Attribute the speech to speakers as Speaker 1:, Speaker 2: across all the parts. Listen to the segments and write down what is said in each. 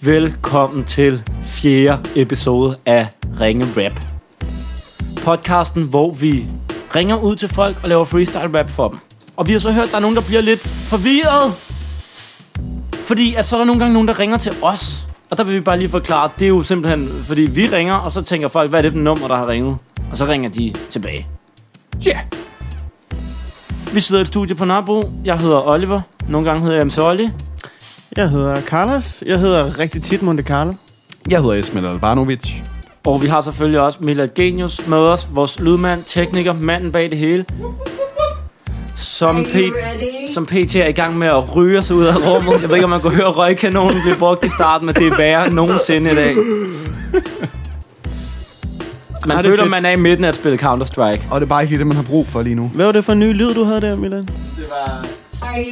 Speaker 1: Velkommen til fjerde episode af Ringe Rap. Podcasten, hvor vi ringer ud til folk og laver freestyle rap for dem. Og vi har så hørt, at der er nogen, der bliver lidt forvirret. Fordi at så er der nogle gange nogen, der ringer til os. Og der vil vi bare lige forklare, at det er jo simpelthen, fordi vi ringer, og så tænker folk, hvad er det for et nummer, der har ringet? Og så ringer de tilbage.
Speaker 2: Ja. Yeah.
Speaker 1: Vi sidder i et studie på Nørrebro. Jeg hedder Oliver. Nogle gange hedder jeg MC Olli.
Speaker 3: Jeg hedder Carlos. Jeg hedder rigtig tit Monte Carlo.
Speaker 2: Jeg hedder Esmel Albanovic.
Speaker 1: Og vi har selvfølgelig også Milad Genius med os, vores lydmand, tekniker, manden bag det hele. Som, P- som PT er i gang med at ryge sig ud af rummet. Jeg ved ikke, om man kunne høre røgkanonen blive brugt i starten, men det er værre end nogensinde i dag. Man
Speaker 3: det er
Speaker 1: føler,
Speaker 3: fedt.
Speaker 1: man er i midten af at spille Counter-Strike.
Speaker 2: Og det er bare ikke lige det, man har brug for lige nu.
Speaker 3: Hvad var det for en ny lyd, du havde der, Milan?
Speaker 4: Are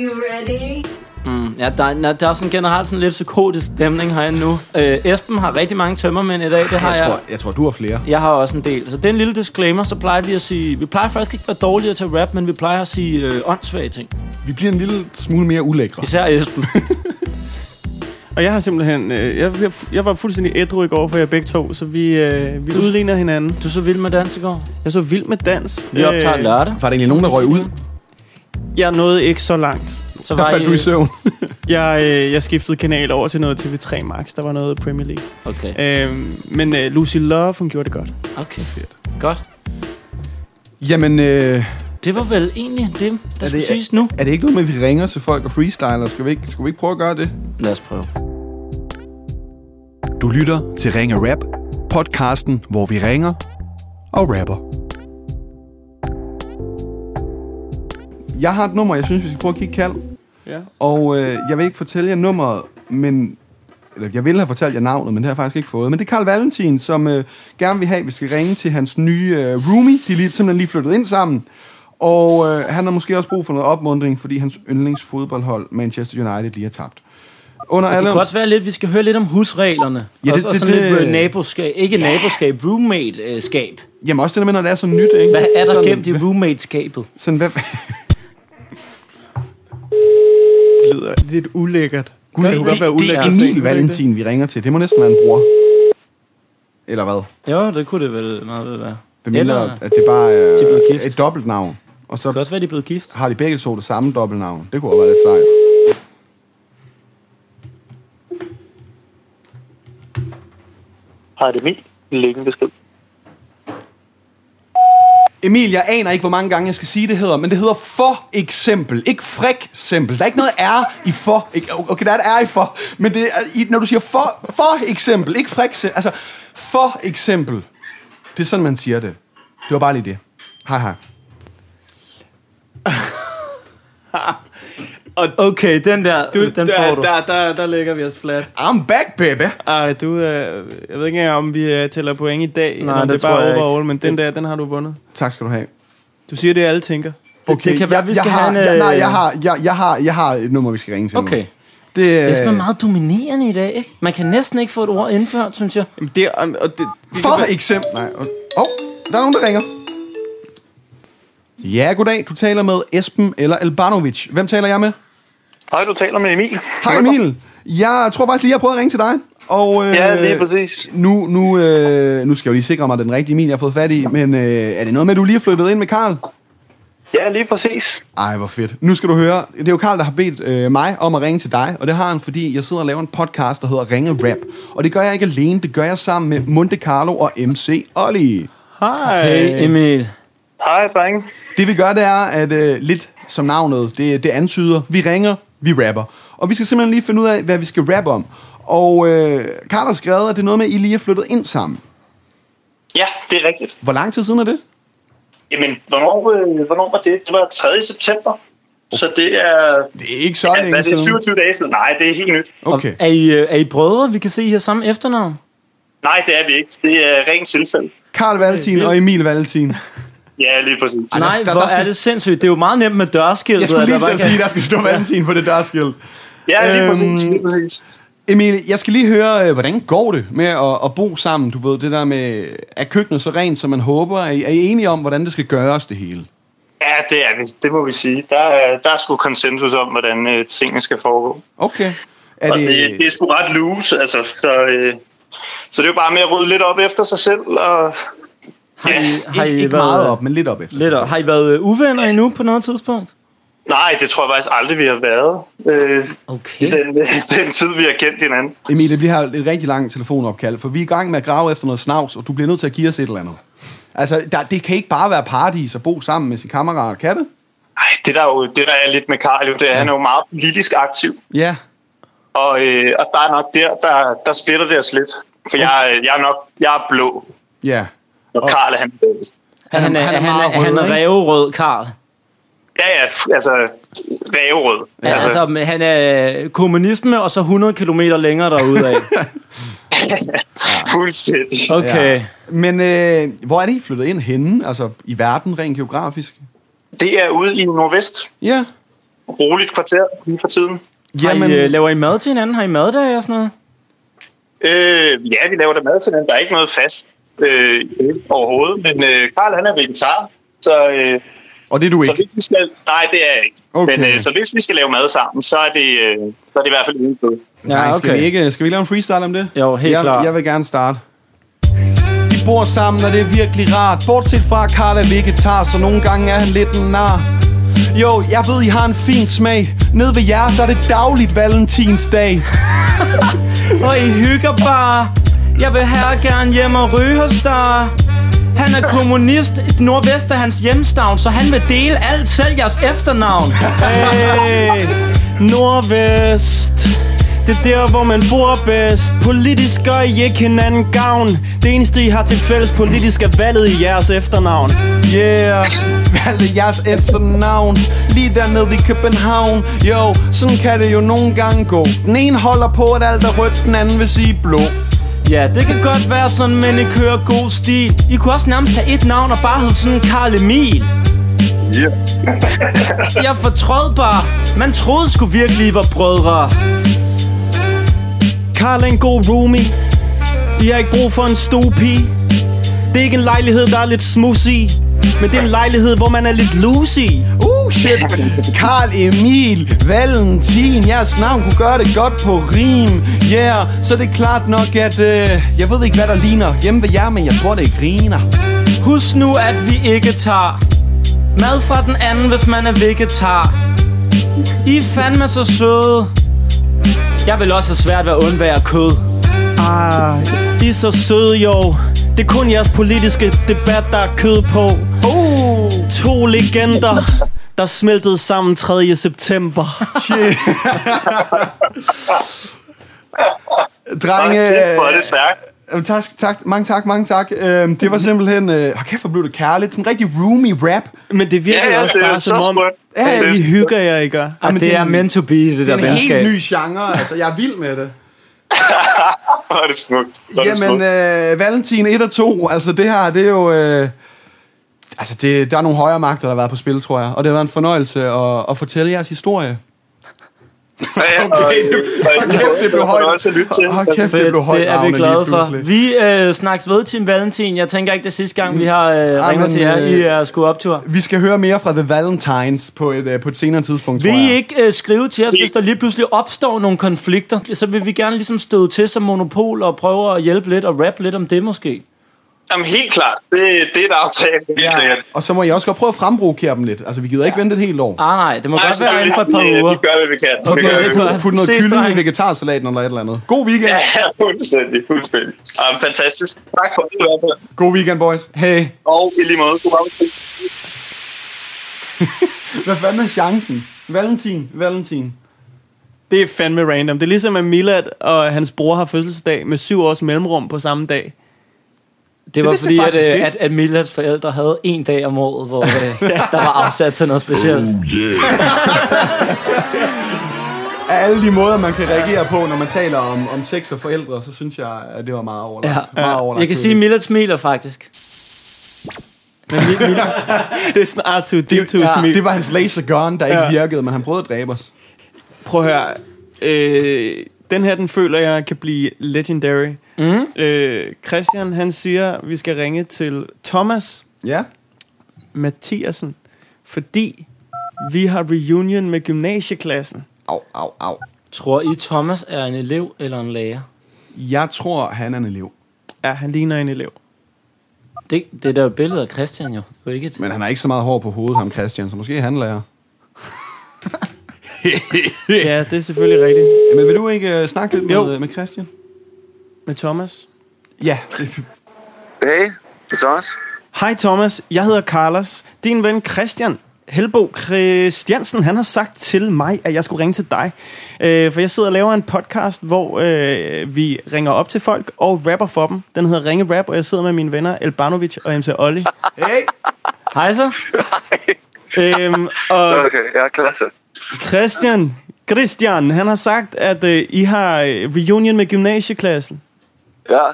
Speaker 4: you ready?
Speaker 1: Mm, ja, der, er- der er sådan generelt sådan lidt psykotisk stemning herinde nu. Øh, Esben har rigtig mange tømmermænd i dag, det har
Speaker 2: Jeg
Speaker 1: jeg.
Speaker 2: tror, jeg tror, du har flere.
Speaker 1: Jeg har også en del. Så det er en lille disclaimer, så plejer vi at sige... Vi plejer faktisk ikke at være dårligere til rap, men vi plejer at sige øh, åndssvage ting.
Speaker 2: Vi bliver en lille smule mere ulækre.
Speaker 1: Især Esben.
Speaker 3: Og jeg har simpelthen... Øh, jeg, jeg, jeg var fuldstændig ædru i går for jer begge to, så vi, øh, vi udligner hinanden.
Speaker 1: Du så vild med dans i går.
Speaker 3: Jeg så vild med dans. Øh,
Speaker 1: Vi optager lørdag.
Speaker 2: Var der egentlig nogen, der røg ud?
Speaker 3: Jeg nåede ikke så langt.
Speaker 1: Så
Speaker 2: Der faldt du i søvn.
Speaker 3: Jeg, øh, jeg skiftede kanal over til noget TV3 Max. Der var noget Premier League.
Speaker 1: Okay,
Speaker 3: Øh, men øh, Lucy Love, hun gjorde det godt.
Speaker 1: okay. Godt.
Speaker 2: Jamen, øh,
Speaker 1: Det var vel egentlig det, der
Speaker 2: Er
Speaker 1: skulle
Speaker 2: det-
Speaker 1: siges nu.
Speaker 2: er det ikke noget med, at vi ringer til folk og freestyler? Skal vi ikke, skal vi ikke prøve at gøre det?
Speaker 1: Lad os prøve.
Speaker 2: Du lytter til Ring Rap, podcasten, hvor vi ringer og rapper. Jeg har et nummer, jeg synes, vi skal prøve at kigge kald.
Speaker 3: Ja.
Speaker 2: Og øh, jeg vil ikke fortælle jer nummeret, men... Eller jeg ville have fortalt jer navnet, men det har jeg faktisk ikke fået. Men det er Karl Valentin, som øh, gerne vil have, at vi skal ringe til hans nye øh, roomie. De er lige, simpelthen lige flyttet ind sammen. Og øh, han har måske også brug for noget opmundring, fordi hans yndlingsfodboldhold, Manchester United, lige har tabt. Under
Speaker 1: Det
Speaker 2: alle
Speaker 1: kan også være lidt, vi skal høre lidt om husreglerne.
Speaker 2: Ja,
Speaker 1: Ja,
Speaker 2: det-
Speaker 1: det, og, og
Speaker 2: det-
Speaker 1: sådan det, lidt
Speaker 2: det-
Speaker 1: øh, naboskab. Ikke yeah. naboskab, roommate-skab.
Speaker 2: Jamen også det der med, når det er så nyt, ikke?
Speaker 1: Hvad er der
Speaker 2: sådan,
Speaker 1: gemt i roommate-skabet?
Speaker 2: Sådan, hvad...
Speaker 3: Det lyder lidt ulækkert.
Speaker 2: Gud,
Speaker 3: det kunne godt være ulækkert.
Speaker 2: det er Emil
Speaker 3: ting, kunne det ikke det?
Speaker 2: Valentin, vi ringer til. Det må næsten være en bror. Eller hvad?
Speaker 1: Jo, det kunne det vel meget vel være.
Speaker 2: Hvem mindre,
Speaker 1: Eller, det
Speaker 2: at det bare
Speaker 1: De er blevet
Speaker 2: er
Speaker 1: gift.
Speaker 2: et dobbeltnavn. Og så
Speaker 1: kan også være, de er blevet gift.
Speaker 2: har de begge to det samme dobbeltnavn. Det kunne også være lidt sejt.
Speaker 5: Hej, det er Emil. Læg en besked.
Speaker 2: Emil, jeg aner ikke, hvor mange gange jeg skal sige, det hedder, men det hedder for eksempel. Ikke fræk eksempel. Der er ikke noget R i for. Ikke- Okay, der er et R i for. Men det er, i- når du siger for, for eksempel, ikke fræk eksempel. Altså, for eksempel. Det er sådan, man siger det. Det var bare lige det. Hej, hej.
Speaker 1: Okay, den der, du, den
Speaker 3: der,
Speaker 1: får du.
Speaker 3: Der, der, der lægger vi os flat.
Speaker 2: I'm back, baby.
Speaker 3: Ej, du, øh, jeg ved ikke engang, om vi øh, tæller point i dag, Nej, eller om
Speaker 1: det
Speaker 3: det, er
Speaker 1: tror
Speaker 3: bare
Speaker 1: jeg ikke.
Speaker 3: overall, men den der, den har du vundet.
Speaker 2: Tak skal du have.
Speaker 3: Du siger det, alle tænker.
Speaker 1: det kan være, vi skal
Speaker 2: jeg
Speaker 1: have
Speaker 2: har,
Speaker 1: en,
Speaker 2: jeg, nej,
Speaker 1: øh,
Speaker 2: jeg har, jeg, jeg, har, jeg har et nummer, vi skal ringe til nu.
Speaker 1: Okay.
Speaker 2: Det, øh,
Speaker 1: Esben er meget dominerende i dag, ikke? Man kan næsten ikke få et ord indført, synes jeg.
Speaker 3: Jamen, det, er- om- og det, vi
Speaker 2: For
Speaker 3: kan-
Speaker 2: eksempel... Nej, og- åh, oh, der er nogen, der ringer. Ja, goddag. Du taler med Esben eller Albanovic. Hvem taler jeg med?
Speaker 5: Hej, du taler med Emil.
Speaker 2: Hej Emil. Jeg tror faktisk lige, jeg har prøvet at ringe til dig. Og, øh,
Speaker 5: Ja, lige præcis.
Speaker 2: Nu, nu, øh, nu skal jeg jo lige sikre mig, at det er den rigtige Emil, jeg har fået fat i. Men øh, er det noget med, at du lige er flyttet ind med Karl?
Speaker 5: Ja, lige præcis.
Speaker 2: Ej, hvor fedt. Nu skal du høre. Det er jo Karl, der har bedt øh, mig om at ringe til dig, og det har han, fordi jeg sidder og laver en podcast, der hedder Ringe Rap. Og det gør jeg ikke alene, det gør jeg sammen med Monte Carlo og MC Olli.
Speaker 3: Hej.
Speaker 2: Øh,
Speaker 1: Hey, Emil.
Speaker 5: Hej, drenge.
Speaker 2: Det vi gør, det er, at øh, lidt som navnet, det, det antyder, vi ringer, vi rapper. Og vi skal simpelthen lige finde ud af, hvad vi skal rappe om. Og øh, Karl har skrevet, at det er noget med, at I lige er flyttet ind sammen.
Speaker 5: Ja, det er rigtigt.
Speaker 2: Hvor lang tid siden er det?
Speaker 5: Jamen, hvornår, øh, hvornår var det? Det var 3. september. Så det er...
Speaker 2: Det er ikke så
Speaker 5: Ja,
Speaker 2: længe
Speaker 5: hvad er det
Speaker 2: siden.
Speaker 5: 27 dage siden? Nej, det er helt nyt.
Speaker 2: Okay.
Speaker 1: Og Er I, øh, er I brødre? Vi kan se, I har samme efternavn.
Speaker 5: Nej, det er vi ikke. Det er rent tilfælde.
Speaker 2: Karl Valentin og Emil Valentin.
Speaker 5: Ja, lige præcis.
Speaker 2: Ej,
Speaker 1: Nej,
Speaker 2: der- der-
Speaker 1: hvor
Speaker 2: der skal-
Speaker 1: er det sindssygt. Det er jo meget nemt med dørskilt.
Speaker 2: Jeg skulle lige til at sige, der skal stå Valentin på det dørskilt.
Speaker 5: Ja, lige præcis.
Speaker 2: Øhm.
Speaker 5: Lige præcis.
Speaker 2: Emil, jeg skal lige høre, øh, hvordan går det med at, at bo sammen? Du ved, det der med, er køkkenet så rent, som man håber? Er I, er I enige om, hvordan det skal gøres, det hele?
Speaker 5: Ja, det er vi. Det må vi sige. Der er, der er sgu konsensus om, hvordan øh, tingene skal foregå.
Speaker 2: Okay. Er
Speaker 5: og det... Det, det er sgu ret loose, altså. Så, øh, så det er jo bare med at rydde lidt op efter sig selv. Og,
Speaker 1: Har I, har I
Speaker 2: ikke, ikke
Speaker 1: været,
Speaker 2: meget op, men lidt op efter.
Speaker 1: Lidt, op. har I været øh, uvenner endnu på noget tidspunkt?
Speaker 5: nej, det tror jeg faktisk aldrig, vi har været. Øh, I
Speaker 1: Okay.
Speaker 5: den, den tid, vi har kendt hinanden.
Speaker 2: Emil, det bliver et rigtig langt telefonopkald, for vi er i gang med at grave efter noget snavs, og du bliver nødt til at give os et eller andet. Altså, der, det kan ikke bare være paradis at bo sammen med sin kammerat og katte.
Speaker 5: Ej, det der, jo, det der er lidt med Karl, jo, det er, at han er jo meget politisk aktiv.
Speaker 2: Ja.
Speaker 5: Og, øh, og der er nok der, der, der splitter det os lidt. For jeg, er- jeg er nok jeg er blå,
Speaker 2: Ja.
Speaker 5: og Karl er han blå.
Speaker 1: Han, han, er, han, er, han, er, han er
Speaker 2: ikke?
Speaker 1: ræverød, Karl.
Speaker 5: Ja, ja, f- altså ræverød.
Speaker 1: Ja, altså, men han er øh, kommunisme, og så 100 km længere derude af.
Speaker 5: fuldstændig.
Speaker 1: Okay. Ja.
Speaker 2: Men øh, hvor er det, I flyttet ind henne? Altså, i verden rent geografisk?
Speaker 5: Det er ude i Nordvest.
Speaker 2: Ja.
Speaker 5: Roligt kvarter lige for tiden.
Speaker 1: Har I, øh,
Speaker 2: Jamen,
Speaker 1: laver I mad til hinanden? Har I maddage og sådan noget?
Speaker 5: Øh, ja, vi laver der mad til den. Der er ikke noget fast øh, overhovedet. Men øh, Karl, han er vegetar. Så, øh,
Speaker 2: og det er du
Speaker 5: så
Speaker 2: ikke.
Speaker 5: hvis vi skal... Nej, det er jeg ikke.
Speaker 2: Okay.
Speaker 5: Men, øh, så hvis vi skal lave mad sammen, så er det, øh, så er det i hvert fald uden kød.
Speaker 1: Ja,
Speaker 2: Nej, skal vi
Speaker 1: okay.
Speaker 2: ikke skal vi lave en freestyle om det?
Speaker 1: Jo, helt
Speaker 2: jeg,
Speaker 1: klart.
Speaker 2: Jeg vil gerne starte. De bor sammen, og det er virkelig rart. Bortset fra, at Karl er vegetar, så nogle gange er han lidt en nar. Jo, jeg ved, I har en fin smag. Nede ved jer, der er det dagligt valentinsdag.
Speaker 1: Og I hygger bare. Jeg vil her gerne hjem og ryge hos dig. Han er kommunist. Nordvest er hans hjemstavn, så han vil dele alt, selv jeres efternavn.
Speaker 3: Hey, Nordvest Det er der, hvor man bor bedst Politisk gør I ikke hinanden gavn Det eneste, I har til fælles politisk er valget i jeres efternavn
Speaker 2: Yeah, valgte jeres efternavn Lige dernede i København Jo, sådan kan det jo nogle gange gå Den ene holder på, at alt er rødt Den anden vil sige blå
Speaker 1: Ja, det kan godt være sådan, men I kører god stil. I kunne også nærmest have et navn og bare hedde sådan Karl Emil.
Speaker 5: Yeah.
Speaker 1: Jeg fortrød bare. Man troede sgu virkelig, I var brødre.
Speaker 3: Karl er en god roomie I har ikke brug for en stuepige Det er ikke en lejlighed, der er lidt smus i Men det er en lejlighed, hvor man er lidt loose i
Speaker 2: Uh, shit Karl Emil Valentin Jeres navn kunne gøre det godt på rim Yeah, så det er klart nok, at øh, Jeg ved ikke, hvad der ligner hjemme ved jer Men jeg tror, det griner
Speaker 1: Husk nu, at vi ikke tager mad fra den anden, hvis man er vegetar. I er fandme så søde. Jeg vil også have svært ved at undvære kød.
Speaker 3: I er så søde, jo Det er kun jeres politiske debat, der er kød på
Speaker 5: Oh.
Speaker 1: Uh.
Speaker 3: To legender, der smeltede sammen 3. september
Speaker 2: Drenge
Speaker 5: Kæft, hvor er det stærkt.
Speaker 2: øh, tak, tak, mange tak, mange tak øh, Det var simpelthen øh, Hold kæft, hvor blev det kærligt Sådan en rigtig roomy rap Øh,
Speaker 3: Men det virker
Speaker 5: Ja, ja,
Speaker 3: også
Speaker 5: det er
Speaker 3: bare
Speaker 5: så
Speaker 3: som om,
Speaker 5: smukt.
Speaker 3: at I hygger jer, ikke?
Speaker 1: Ej,
Speaker 2: Jamen,
Speaker 1: det,
Speaker 2: det er
Speaker 1: er
Speaker 2: en-
Speaker 1: meant to be, det, det
Speaker 2: Det
Speaker 1: der
Speaker 2: er en
Speaker 1: venskab.
Speaker 2: helt ny genre, altså. Jeg er vild med det.
Speaker 5: Hvor er det smukt. Hvor er det
Speaker 2: Jamen,
Speaker 5: smukt.
Speaker 2: øh, Valentin 1 og 2, altså det her, det er jo... Øh, altså, det, der er nogle højere magter, der har været på spil, tror jeg. Og det har været en fornøjelse at, at fortælle jeres historie.
Speaker 5: Ja, og- øh,
Speaker 2: okay, det-
Speaker 5: og-
Speaker 2: hold kæft, det blev højt.
Speaker 5: Det var også at lytte til.
Speaker 2: Hold kæft, det
Speaker 1: Fedt,
Speaker 2: blev højt
Speaker 1: det er vi glade for. Vi øh, snakkes ved, Team Valentin. Jeg tænker ikke, det er sidste gang, vi har øh, ringer
Speaker 2: Mm. men,
Speaker 1: til jer.
Speaker 2: øh,
Speaker 1: I er sgu optur.
Speaker 2: Vi skal høre mere fra The Valentines på et, øh, på et senere tidspunkt, tror
Speaker 1: Vil I
Speaker 2: jeg.
Speaker 1: ikke øh, skrive til os, hvis der lige pludselig opstår nogle konflikter? Så vil vi gerne ligesom støde til som monopol og prøve at hjælpe lidt og rappe lidt om det måske.
Speaker 5: Jamen, helt klart. Det, det er et aftale. Helt sikkert.
Speaker 2: Og så må I også godt prøve at frembrokere dem lidt. Altså, vi gider ikke vente et helt år.
Speaker 1: Ah nej, det må
Speaker 5: Nej,
Speaker 1: godt være
Speaker 5: selvfølgelig.
Speaker 1: inden for et par
Speaker 5: Vi-
Speaker 1: uger.
Speaker 5: Vi gør, hvad vi kan. Vi
Speaker 2: Put
Speaker 5: gør,
Speaker 1: det
Speaker 5: hvad
Speaker 1: er
Speaker 5: vi
Speaker 1: klart.
Speaker 5: kan.
Speaker 2: noget, put noget
Speaker 1: Ses,
Speaker 2: kylling i
Speaker 1: dreng.
Speaker 2: vegetarsalaten eller et eller andet. God weekend.
Speaker 5: Ja, fuldstændig, fuldstændig. Jamen, fantastisk. Tak for det i hvert fald.
Speaker 2: God weekend, boys.
Speaker 1: Hey.
Speaker 5: Og i lige måde, god aften.
Speaker 2: Hvad fanden er chancen? Valentin, Valentin.
Speaker 3: Det er fandme random. Det er ligesom, at Milad og hans bror har fødselsdag med syv års mellemrum på samme dag.
Speaker 1: Det var
Speaker 2: vidste
Speaker 1: fordi,
Speaker 2: jeg
Speaker 1: at,
Speaker 2: faktisk
Speaker 1: øh,
Speaker 2: ikke.
Speaker 1: at, at Milads forældre havde en dag om året, hvor øh, der var afsat til noget specielt.
Speaker 2: Uh, af alle de måder, man kan reagere på, når man taler om, om sex og forældre, så synes jeg, at det var meget overlagt.
Speaker 1: Ja.
Speaker 2: meget overlagt
Speaker 1: Jeg kan sige, at Milad smiler faktisk.
Speaker 3: Det er sådan Artu D2
Speaker 1: Ja.
Speaker 3: ja,
Speaker 2: det var hans laser gun, der ikke
Speaker 3: Ja.
Speaker 2: virkede, men han prøvede at dræbe os.
Speaker 3: Prøv at høre. Øh, den her, den føler jeg kan blive legendary.
Speaker 1: Mm.
Speaker 3: Øh, Christian, han siger, at vi skal ringe til Thomas
Speaker 2: Ja.
Speaker 3: Mathiasen, fordi vi har reunion med gymnasieklassen.
Speaker 2: Au, au, au.
Speaker 1: Tror I, Thomas er en elev eller en lærer?
Speaker 2: Jeg tror, han er en elev.
Speaker 3: Ja, han ligner en elev.
Speaker 1: Det, det er da et billede af Christian jo. Det er jo ikke et...
Speaker 2: Men han har ikke så meget hår på hovedet, ham Christian, så måske er han lærer.
Speaker 3: Ja, det er selvfølgelig rigtigt.
Speaker 2: Men vil du ikke øh, snakke lidt
Speaker 3: Jo.
Speaker 2: med, med Christian?
Speaker 3: Med Thomas.
Speaker 2: Ja.
Speaker 6: Hey, det er Thomas.
Speaker 3: Hej Thomas, jeg hedder Carlos. Din ven Christian Helbo Christiansen, han har sagt til mig, at jeg skulle ringe til dig. Øh, for jeg sidder og laver en podcast, hvor øh, vi ringer op til folk og rapper for dem. Den hedder Ringe Rap, og jeg sidder med mine venner Elbanovic og MC Olli.
Speaker 2: Hey!
Speaker 1: Hej så.
Speaker 3: øhm, og
Speaker 6: Okay, jeg er klasse.
Speaker 3: Christian, Christian, han har sagt, at øh, I har øh, reunion med gymnasieklassen.
Speaker 6: Ja.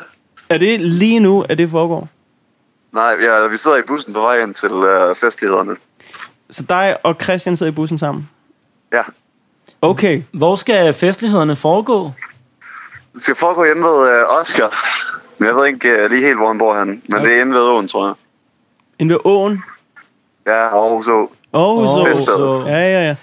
Speaker 3: Er det lige nu, at det foregår?
Speaker 6: Nej, ja, vi sidder i bussen på vej ind til øh, festlighederne.
Speaker 3: Så dig og Christian sidder i bussen sammen?
Speaker 6: Ja.
Speaker 3: Okay,
Speaker 1: Hvor skal festlighederne foregå?
Speaker 6: Det skal foregå hjemme ved øh, Oscar. Men jeg ved ikke øh, lige helt, hvor han bor han. Men det er hjemme ved åen, tror jeg.
Speaker 3: ind ved åen.
Speaker 6: Ja, Aarhus Å.
Speaker 3: Åh, oh,
Speaker 1: Åh,
Speaker 3: så.
Speaker 6: så.
Speaker 3: Ja, ja, ja.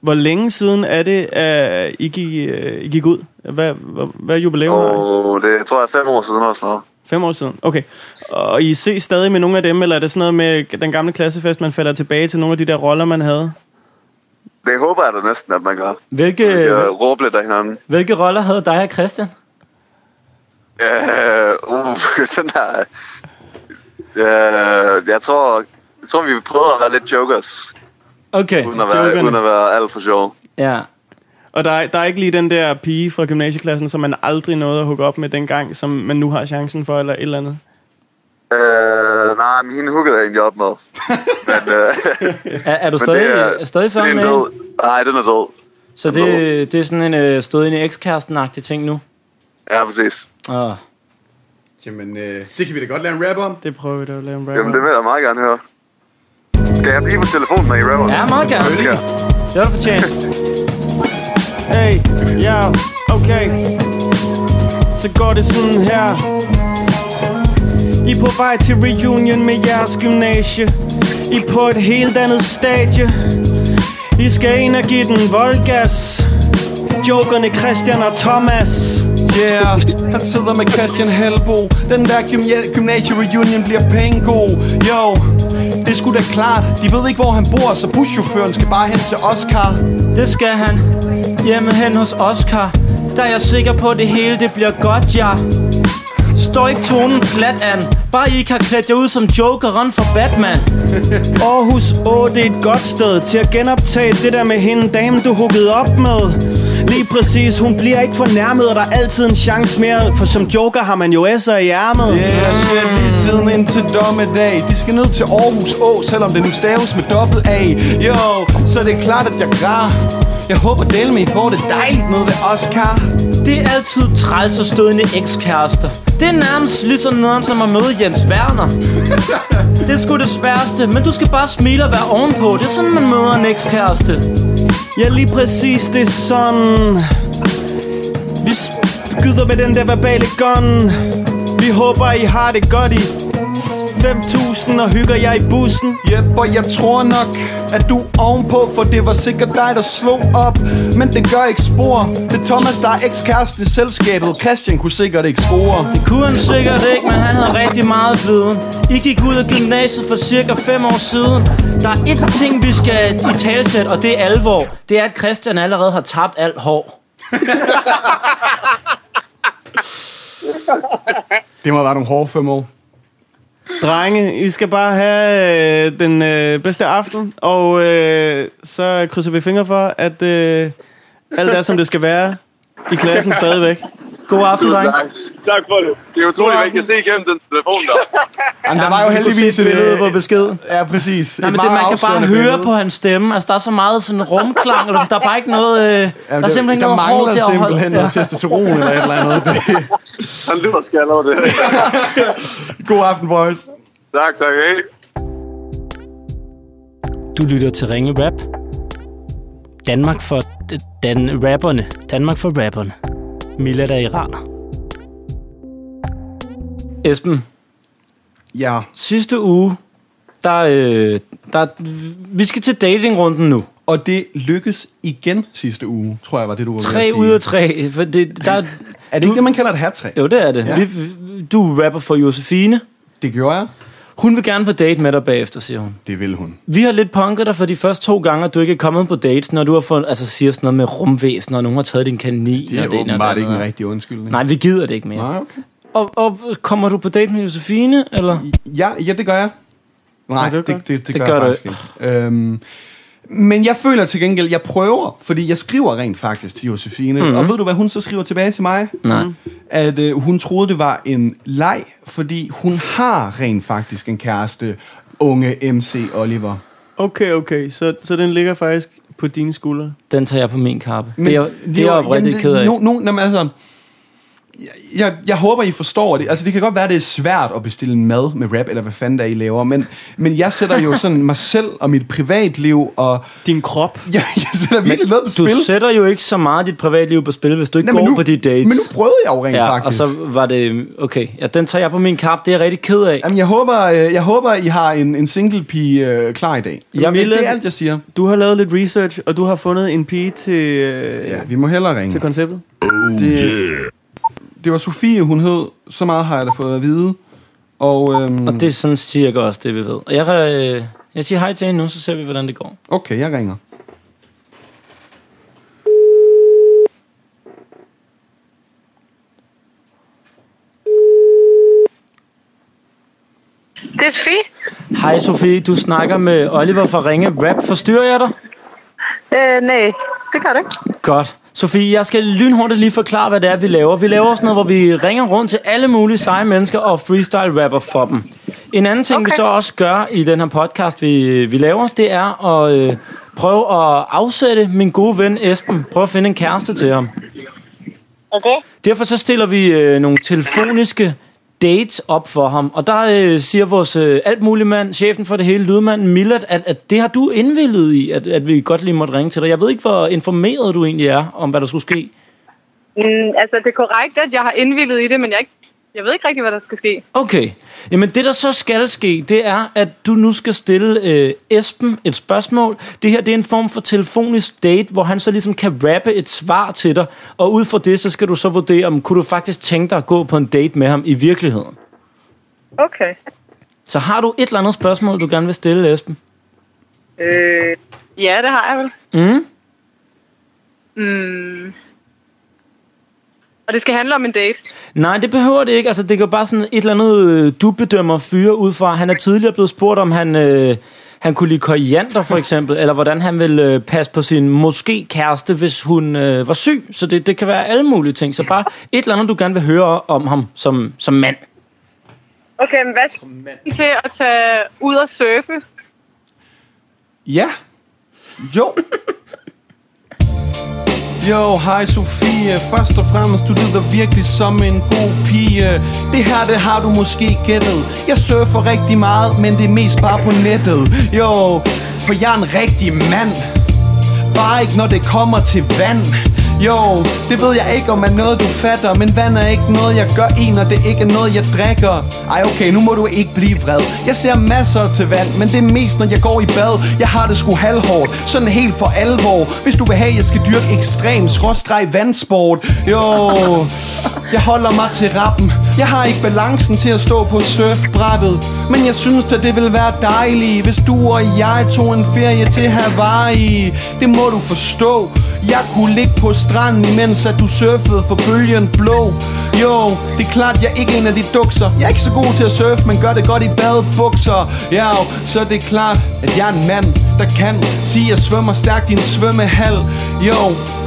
Speaker 3: Hvor længe siden er det, at I gik, øh, I gik ud? Hvad, hvad, hvad er jubilæum? Oh.
Speaker 6: Og det tror jeg er fem år siden eller sådan noget.
Speaker 3: Fem år siden. Okay. Og I ses stadig med nogle af dem, eller er det sådan noget med den gamle klassefest, man falder tilbage til nogle af de der roller, man havde?
Speaker 6: Det håber jeg da næsten, at man gør.
Speaker 1: Hvilke,
Speaker 6: Man kan øh, råbe lidt af hinanden.
Speaker 1: hvilke roller havde dig og Christian?
Speaker 6: Øh, uh, sådan her. Øh, jeg tror, jeg tror, vi prøvede at være lidt jokers,
Speaker 1: Okay,
Speaker 6: uden at være,
Speaker 3: Jokerne.
Speaker 6: uden at være alt for sjov.
Speaker 1: ja.
Speaker 3: Og der er, der er ikke lige den der pige fra gymnasieklassen, som man aldrig nåede at hooke op med dengang, som man nu har chancen for, eller et eller andet.
Speaker 6: Øh, nej, men hende huggede jeg egentlig op med. men, øh,
Speaker 1: Er, er du stadig, er, stadig sammen
Speaker 6: det
Speaker 1: med
Speaker 6: er en
Speaker 1: hende?
Speaker 6: død. Nej, den er død.
Speaker 1: Så det, det er sådan en øh, stået ind i ekskæresten-agtig ting nu?
Speaker 6: Ja, præcis.
Speaker 1: Åh.
Speaker 2: Jamen, øh, det kan vi da godt lave en rap om.
Speaker 3: Det prøver vi da at lave en rap
Speaker 6: Jamen,
Speaker 3: om.
Speaker 6: det vil jeg meget gerne høre. Skal jeg blive på telefonen med i rapper?
Speaker 1: Ja, meget gerne.
Speaker 6: Ønsker.
Speaker 1: Det var du fortjent.
Speaker 3: Hey, ja, okay Så går det sådan her I er på vej til reunion med jeres gymnasie I er på et helt andet stadie I skal ind og give den voldgas Jokerne Christian og Thomas
Speaker 2: Yeah, han sidder med Christian Helbo. Den der gymna- gymnasie-reunion bliver penge god. Yo, det skulle da klart. De ved ikke, hvor han bor, så buschaufføren skal bare hen til Oscar.
Speaker 1: Det skal han. Hjemme hen hos Oscar. Der er jeg sikker på, at det hele det bliver godt, ja. Står ikke tonen plat an. Bare I ikke har klædt jer ud som jokeren fra Batman.
Speaker 3: Aarhus Å, det er et godt sted til at genoptage det der med hende dame, du huggede op med. Lige præcis, hun bliver ikke fornærmet, og der er altid en chance mere, for som joker har man jo S'er i ærmet.
Speaker 2: Yeah, shit, lige siden ind til dommedag. De skal ned til Aarhus Å, selvom det nu staves med dobbelt A. Yo, så er det er klart, at jeg græder. Jeg håber, del med, I får det dejligt nede ved Oscar.
Speaker 1: Det er altid træls og stødende ekskærester. Det er nærmest lige så nederen som at møde Jens Werner. Det er sgu det sværeste, men du skal bare smile og være ovenpå. Det er sådan, man møder en ekskæreste.
Speaker 3: Ja, lige præcis, det er sådan. Vi skyder med den der verbale gun. Vi håber, I har det godt i 5.000 og hygger jer i bussen.
Speaker 2: Jep, og jeg tror nok, at du er ovenpå, for det var sikkert dig, der slog op. Men det gør ikke spor. Det er Thomas, der er ekskæresten i selskabet. Christian kunne sikkert ikke score.
Speaker 1: Kunne han sikkert ikke, men han havde rigtig meget viden. I gik ud af gymnasiet for cirka 5 år siden. Der er ét ting, vi skal i talsæt, og det er alvor. Det er, at Christian allerede har tabt alt hår.
Speaker 2: Det må have været nogle hårde fem år.
Speaker 3: Drenge, I skal bare have øh, den øh, bedste aften, og øh, så krydser vi fingre for, at øh, alt er, som det skal være i klassen stadigvæk. God aften, drenge.
Speaker 5: Tak for det.
Speaker 6: Det er utroligt, hvad I kan se igennem den telefon der.
Speaker 2: Jamen, der var jo heldigvis øh,
Speaker 1: se et billede på besked.
Speaker 2: Ja, præcis.
Speaker 1: Nej, men det, man kan bare høre på hans stemme. Altså, der er så meget sådan rumklang, eller der er bare ikke noget... Øh, der er simpelthen ikke noget hår til at holde. Ja.
Speaker 2: testosteron eller et eller andet.
Speaker 6: Han lyder skaldet over det.
Speaker 2: God aften, boys.
Speaker 6: tak, tak. Hey.
Speaker 1: Du lytter til Ringe Rap. Danmark for den rapperne. Danmark for rapperne. Mila der iraner. Esben,
Speaker 2: Ja,
Speaker 1: sidste uge, der, øh, der, vi skal til datingrunden nu.
Speaker 2: Og det lykkedes igen sidste uge, tror jeg var det, du var ved at
Speaker 1: Tre
Speaker 2: sige.
Speaker 1: ud af tre. For det, der,
Speaker 2: Er det ikke det, man kalder et hat
Speaker 1: jo, det er det.
Speaker 2: Ja.
Speaker 1: Ja. Vi, vi- du rapper for Josefine.
Speaker 2: Det gjorde jeg.
Speaker 1: Hun vil gerne på date med dig bagefter, siger hun.
Speaker 2: Det vil hun.
Speaker 1: Vi har lidt punket dig for de første to gange, at du ikke er kommet på dates, når du har fået, altså siger sådan noget med rumvæsen, og nogen har taget din kanin.
Speaker 2: Det er
Speaker 1: og det ene og det
Speaker 2: åbenbart ikke en
Speaker 1: andet.
Speaker 2: rigtig undskyldning.
Speaker 1: Nej, vi gider det ikke mere.
Speaker 2: Nej, okay.
Speaker 1: Og, og kommer du på date med Josefine, eller?
Speaker 2: Ja, ja det gør jeg. Nej,
Speaker 1: det
Speaker 2: det,
Speaker 1: gør-
Speaker 2: det, det, det
Speaker 1: det
Speaker 2: gør,
Speaker 1: gør
Speaker 2: jeg
Speaker 1: du
Speaker 2: faktisk ikke. Øhm, men jeg føler til gengæld, jeg prøver, fordi jeg skriver rent faktisk til Josefine. Mm-hmm. Og ved du, hvad hun så skriver tilbage til mig?
Speaker 1: Nej.
Speaker 2: At øh, hun troede, det var en leg, fordi hun har rent faktisk en kæreste, unge MC Oliver.
Speaker 3: Okay, okay, så, så den ligger faktisk på dine skuldre.
Speaker 1: Den tager jeg på min kappe. Men, det er, det er jeg oprigtigt ked af.
Speaker 2: No, no, jamen, altså, jeg- jeg, jeg håber, I forstår det. Altså, det kan godt være, det er svært at bestille mad med rap, eller hvad fanden der I laver, men, men jeg sætter jo sådan mig selv og mit privatliv, og
Speaker 3: Din krop.
Speaker 2: jeg, jeg sætter virkelig noget på
Speaker 1: Du
Speaker 2: spil.
Speaker 1: sætter jo ikke så meget dit privatliv på spil, hvis du ikke
Speaker 2: men
Speaker 1: går
Speaker 2: nu,
Speaker 1: på de dates.
Speaker 2: Men nu prøvede jeg jo rent
Speaker 1: ja,
Speaker 2: ja, faktisk.
Speaker 1: og så var det... Okay, ja, den tager jeg på min kappe. Det er jeg rigtig ked af.
Speaker 2: Jamen, jeg håber, øh, jeg håber, I har en, en single pige øh, klar i dag.
Speaker 1: Jeg
Speaker 2: Jamen, det,
Speaker 1: ville-
Speaker 2: det er alt, jeg siger.
Speaker 3: Du har lavet lidt research, og du har fundet en pige til, øh,
Speaker 2: Ja,
Speaker 3: ja.
Speaker 2: vi må hellere ringe.
Speaker 3: til konceptet.
Speaker 2: Det, det var Sofie, hun hed. Så meget har jeg da fået at vide. Og, øhm,
Speaker 1: Og det er sådan cirka også det, vi ved. Og jeg, øh, jeg siger hej til hende nu, så ser vi, hvordan det går.
Speaker 2: Okay, jeg ringer.
Speaker 7: Det er Sofie.
Speaker 1: Hej Sofie, du snakker med Oliver fra Ringe Rap. Forstyrrer jeg dig?
Speaker 7: Øh, nej, det gør det ikke.
Speaker 1: Godt. Sofie, jeg skal lynhurtigt lige forklare, hvad det er, vi laver. Vi laver sådan noget, hvor vi ringer rundt til alle mulige seje mennesker og freestyle rapper for dem. En anden ting, okay. vi
Speaker 7: Okay.
Speaker 1: så også gør i den her podcast, vi, vi laver, det er at øh, prøve at afsætte min gode ven Esben. Prøve at finde en kæreste til ham.
Speaker 7: Okay.
Speaker 1: Derfor så stiller vi øh, nogle telefoniske dates op for ham. Og der øh, siger vores øh, alt mulig mand, chefen for det hele, lydmanden Millard, at, at det har du indvillet i, at, at vi godt lige måtte ringe til dig. Jeg ved ikke, hvor informeret du egentlig er om, hvad der skulle ske.
Speaker 7: Mm, altså, det er korrekt, at jeg har indvildet i det, men jeg, er ikke, jeg ved ikke rigtig, hvad der skal ske.
Speaker 1: Okay. Jamen det, der så skal ske, det er, at du nu skal stille øh, Esben et spørgsmål. Det her, det er en form for telefonisk date, hvor han så ligesom kan rappe et svar til dig. Og ud fra det, så skal du så vurdere, om kunne du faktisk tænke dig at gå på en date med ham i virkeligheden.
Speaker 7: Okay.
Speaker 1: Så har du et eller andet spørgsmål, du gerne vil stille, Esben?
Speaker 7: Øh, ja, det har jeg vel.
Speaker 1: Mm?
Speaker 7: Mm. Og det skal handle om en date.
Speaker 1: Nej, det behøver det ikke. Altså, det kan jo bare sådan et eller andet, øh, du bedømmer fyre ud fra. Han er tidligere blevet spurgt, om han, øh, han kunne lide koriander, for eksempel, eller hvordan han ville øh, passe på sin måske kæreste, hvis hun øh, var syg. Så det, det kan være alle mulige ting. Så bare et eller andet, du gerne vil høre om ham som, som mand.
Speaker 7: Okay, men hvad skal til at tage ud og surfe?
Speaker 2: Ja. Jo. Jo, hej Sofie. Først og fremmest, du lyder virkelig som en god pige. Det her, det har du måske gættet. Jeg surfer rigtig meget, men det er mest bare på nettet. Jo, for jeg er en rigtig mand. Bare ikke når det kommer til vand Jo, det ved jeg ikke om er noget du fatter Men vand er ikke noget jeg gør i Når det ikke er noget jeg drikker Ej okay, nu må du ikke blive vred Jeg ser masser til vand Men det er mest når jeg går i bad Jeg har det sgu halvhårdt Sådan helt for alvor Hvis du vil have jeg skal dyrke ekstrem Skråstreg vandsport Jo jeg holder mig til rappen Jeg har ikke balancen til at stå på surfbrættet Men jeg synes at det ville være dejligt Hvis du og jeg tog en ferie til Hawaii Det må du forstå Jeg kunne ligge på stranden Imens at du surfede for bølgen blå Jo, det er klart jeg er ikke en af de dukser Jeg er ikke så god til at surfe Men gør det godt i badebukser Ja, jo, så er det klart at jeg er en mand Der kan sige at jeg svømmer stærkt i en svømmehal jo,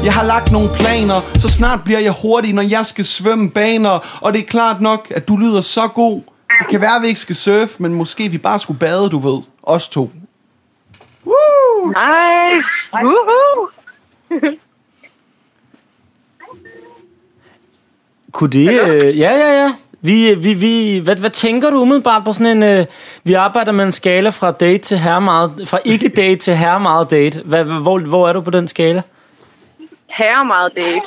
Speaker 2: jeg har lagt nogle planer Så snart bliver jeg hurtig, når jeg skal svømme baner Og det er klart nok, at du lyder så god Det kan være, at vi ikke skal surfe Men måske vi bare skulle bade, du ved Os to
Speaker 7: Nice! Woohoo!
Speaker 1: Kunne det... Øh, ja, ja, ja. Vi, øh, vi, vi, hvad, hvad tænker du umiddelbart på sådan en... Øh, vi arbejder med en skala fra date til herre meget, fra ikke date til herre meget date. Hvad, hvad- hvor, hvor er du på den skala?
Speaker 7: Herre meget date.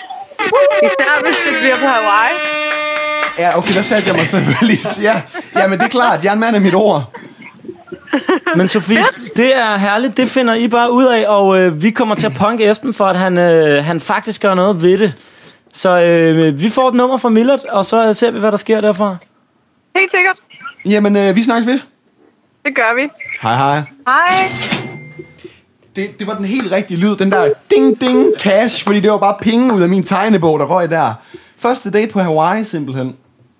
Speaker 7: Især hvis det bliver på Hawaii.
Speaker 2: Ja, okay, der satte jeg mig selvfølgelig Ja, ja men det er klart, jeg er en mand af mit ord
Speaker 1: Men Sofie, det er herligt. Det finder I bare ud af, og øh, vi kommer til at punke Esben for, at han, øh, han faktisk gør noget ved det. Så øh, vi får et nummer fra Millert, og så øh, ser vi, hvad der sker derfra.
Speaker 7: Helt sikkert.
Speaker 2: Jamen, øh, vi snakkes ved.
Speaker 7: Det gør vi.
Speaker 2: Hej, hej.
Speaker 7: Hej.
Speaker 2: Det, det var den helt rigtige lyd, den der ding-ding cash, fordi det var bare penge ud af min tegnebog, der røg der. Første date på Hawaii, simpelthen.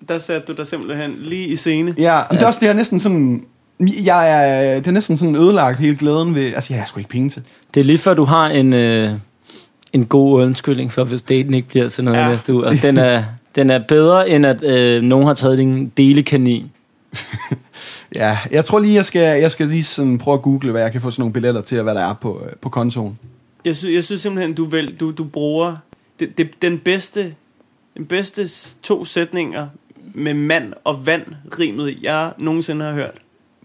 Speaker 3: Der satte du dig simpelthen lige i scene.
Speaker 2: Ja, ja. det er også det, jeg næsten sådan... Jeg er, det er næsten sådan ødelagt hele glæden ved... Altså, jeg har sgu ikke penge til.
Speaker 1: Det er lige før, du har en, øh, en god undskyldning for, hvis daten ikke bliver til noget ja.
Speaker 3: Ja.
Speaker 1: næste uge. Og den er, den er bedre, end at øh, nogen har taget din delekanin.
Speaker 2: Ja, jeg tror lige, jeg skal, jeg skal lige sådan prøve at google, hvad jeg kan få sådan nogle billetter til, og hvad der er på, øh, på kontoen.
Speaker 3: Jeg, sy- jeg synes simpelthen, du, vel, du, du bruger det, det, den bedste, den bedste s- to sætninger med mand og vand rimet, jeg nogensinde har hørt.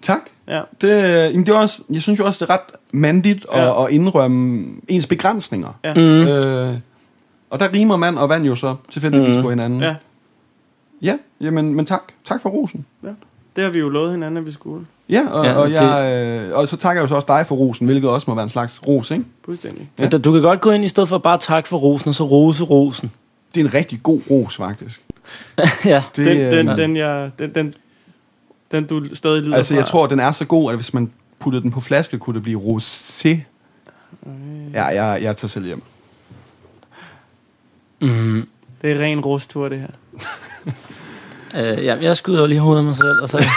Speaker 2: Tak.
Speaker 3: Ja.
Speaker 2: Det, jamen, det er også, jeg synes jo også, det er ret mandigt at, ja.
Speaker 3: Ja.
Speaker 2: at indrømme ens begrænsninger.
Speaker 3: Ja.
Speaker 2: Mm. Øh, og der rimer mand og vand jo så tilfældigvis mm. på hinanden.
Speaker 3: ja.
Speaker 2: ja jamen, men tak. Tak for rosen.
Speaker 3: Ja. Det har vi jo lovet hinanden, at vi skulle.
Speaker 2: Ja, og,
Speaker 1: Ja,
Speaker 2: ja, og,
Speaker 1: det-
Speaker 2: jeg, øh, og så takker jeg jo så også dig for rosen, hvilket også må være en slags ros, ikke?
Speaker 3: Fuldstændig.
Speaker 1: Ja. Du kan godt gå ind i stedet for bare tak for rosen, og så rose rosen.
Speaker 2: Det er en rigtig god ros, faktisk.
Speaker 1: ja.
Speaker 2: Det,
Speaker 3: den, den,
Speaker 2: øh,
Speaker 3: den, jeg, den, den, den, du stadig lider
Speaker 2: altså,
Speaker 3: fra.
Speaker 2: jeg tror, den er så god, at hvis man puttede den på flaske, kunne det blive rosé. Ja, jeg, jeg tager selv hjem.
Speaker 1: Mm.
Speaker 3: Det er ren rustur, det her.
Speaker 1: Øh, jamen, jeg skyder jo lige hovedet af mig selv, og så...